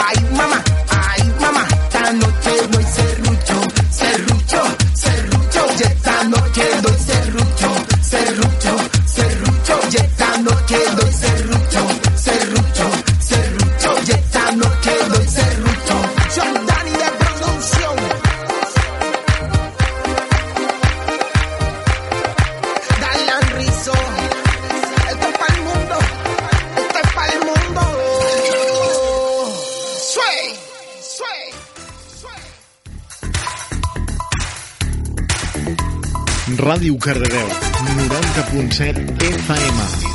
[SPEAKER 8] Ay, mamá, ay, mamá. Esta noche doy serrucho, serrucho, serrucho. Y esta noche doy serrucho, serrucho, serrucho. Y esta noche doy serrucho, serrucho, serrucho. Y esta noche doy serrucho. Soy Dani de producción. Dalan Rizzo. Esto es para el mundo. Esto es para el mundo. Sway, sway.
[SPEAKER 9] Ràdio Cardedeu, 90.7 FM.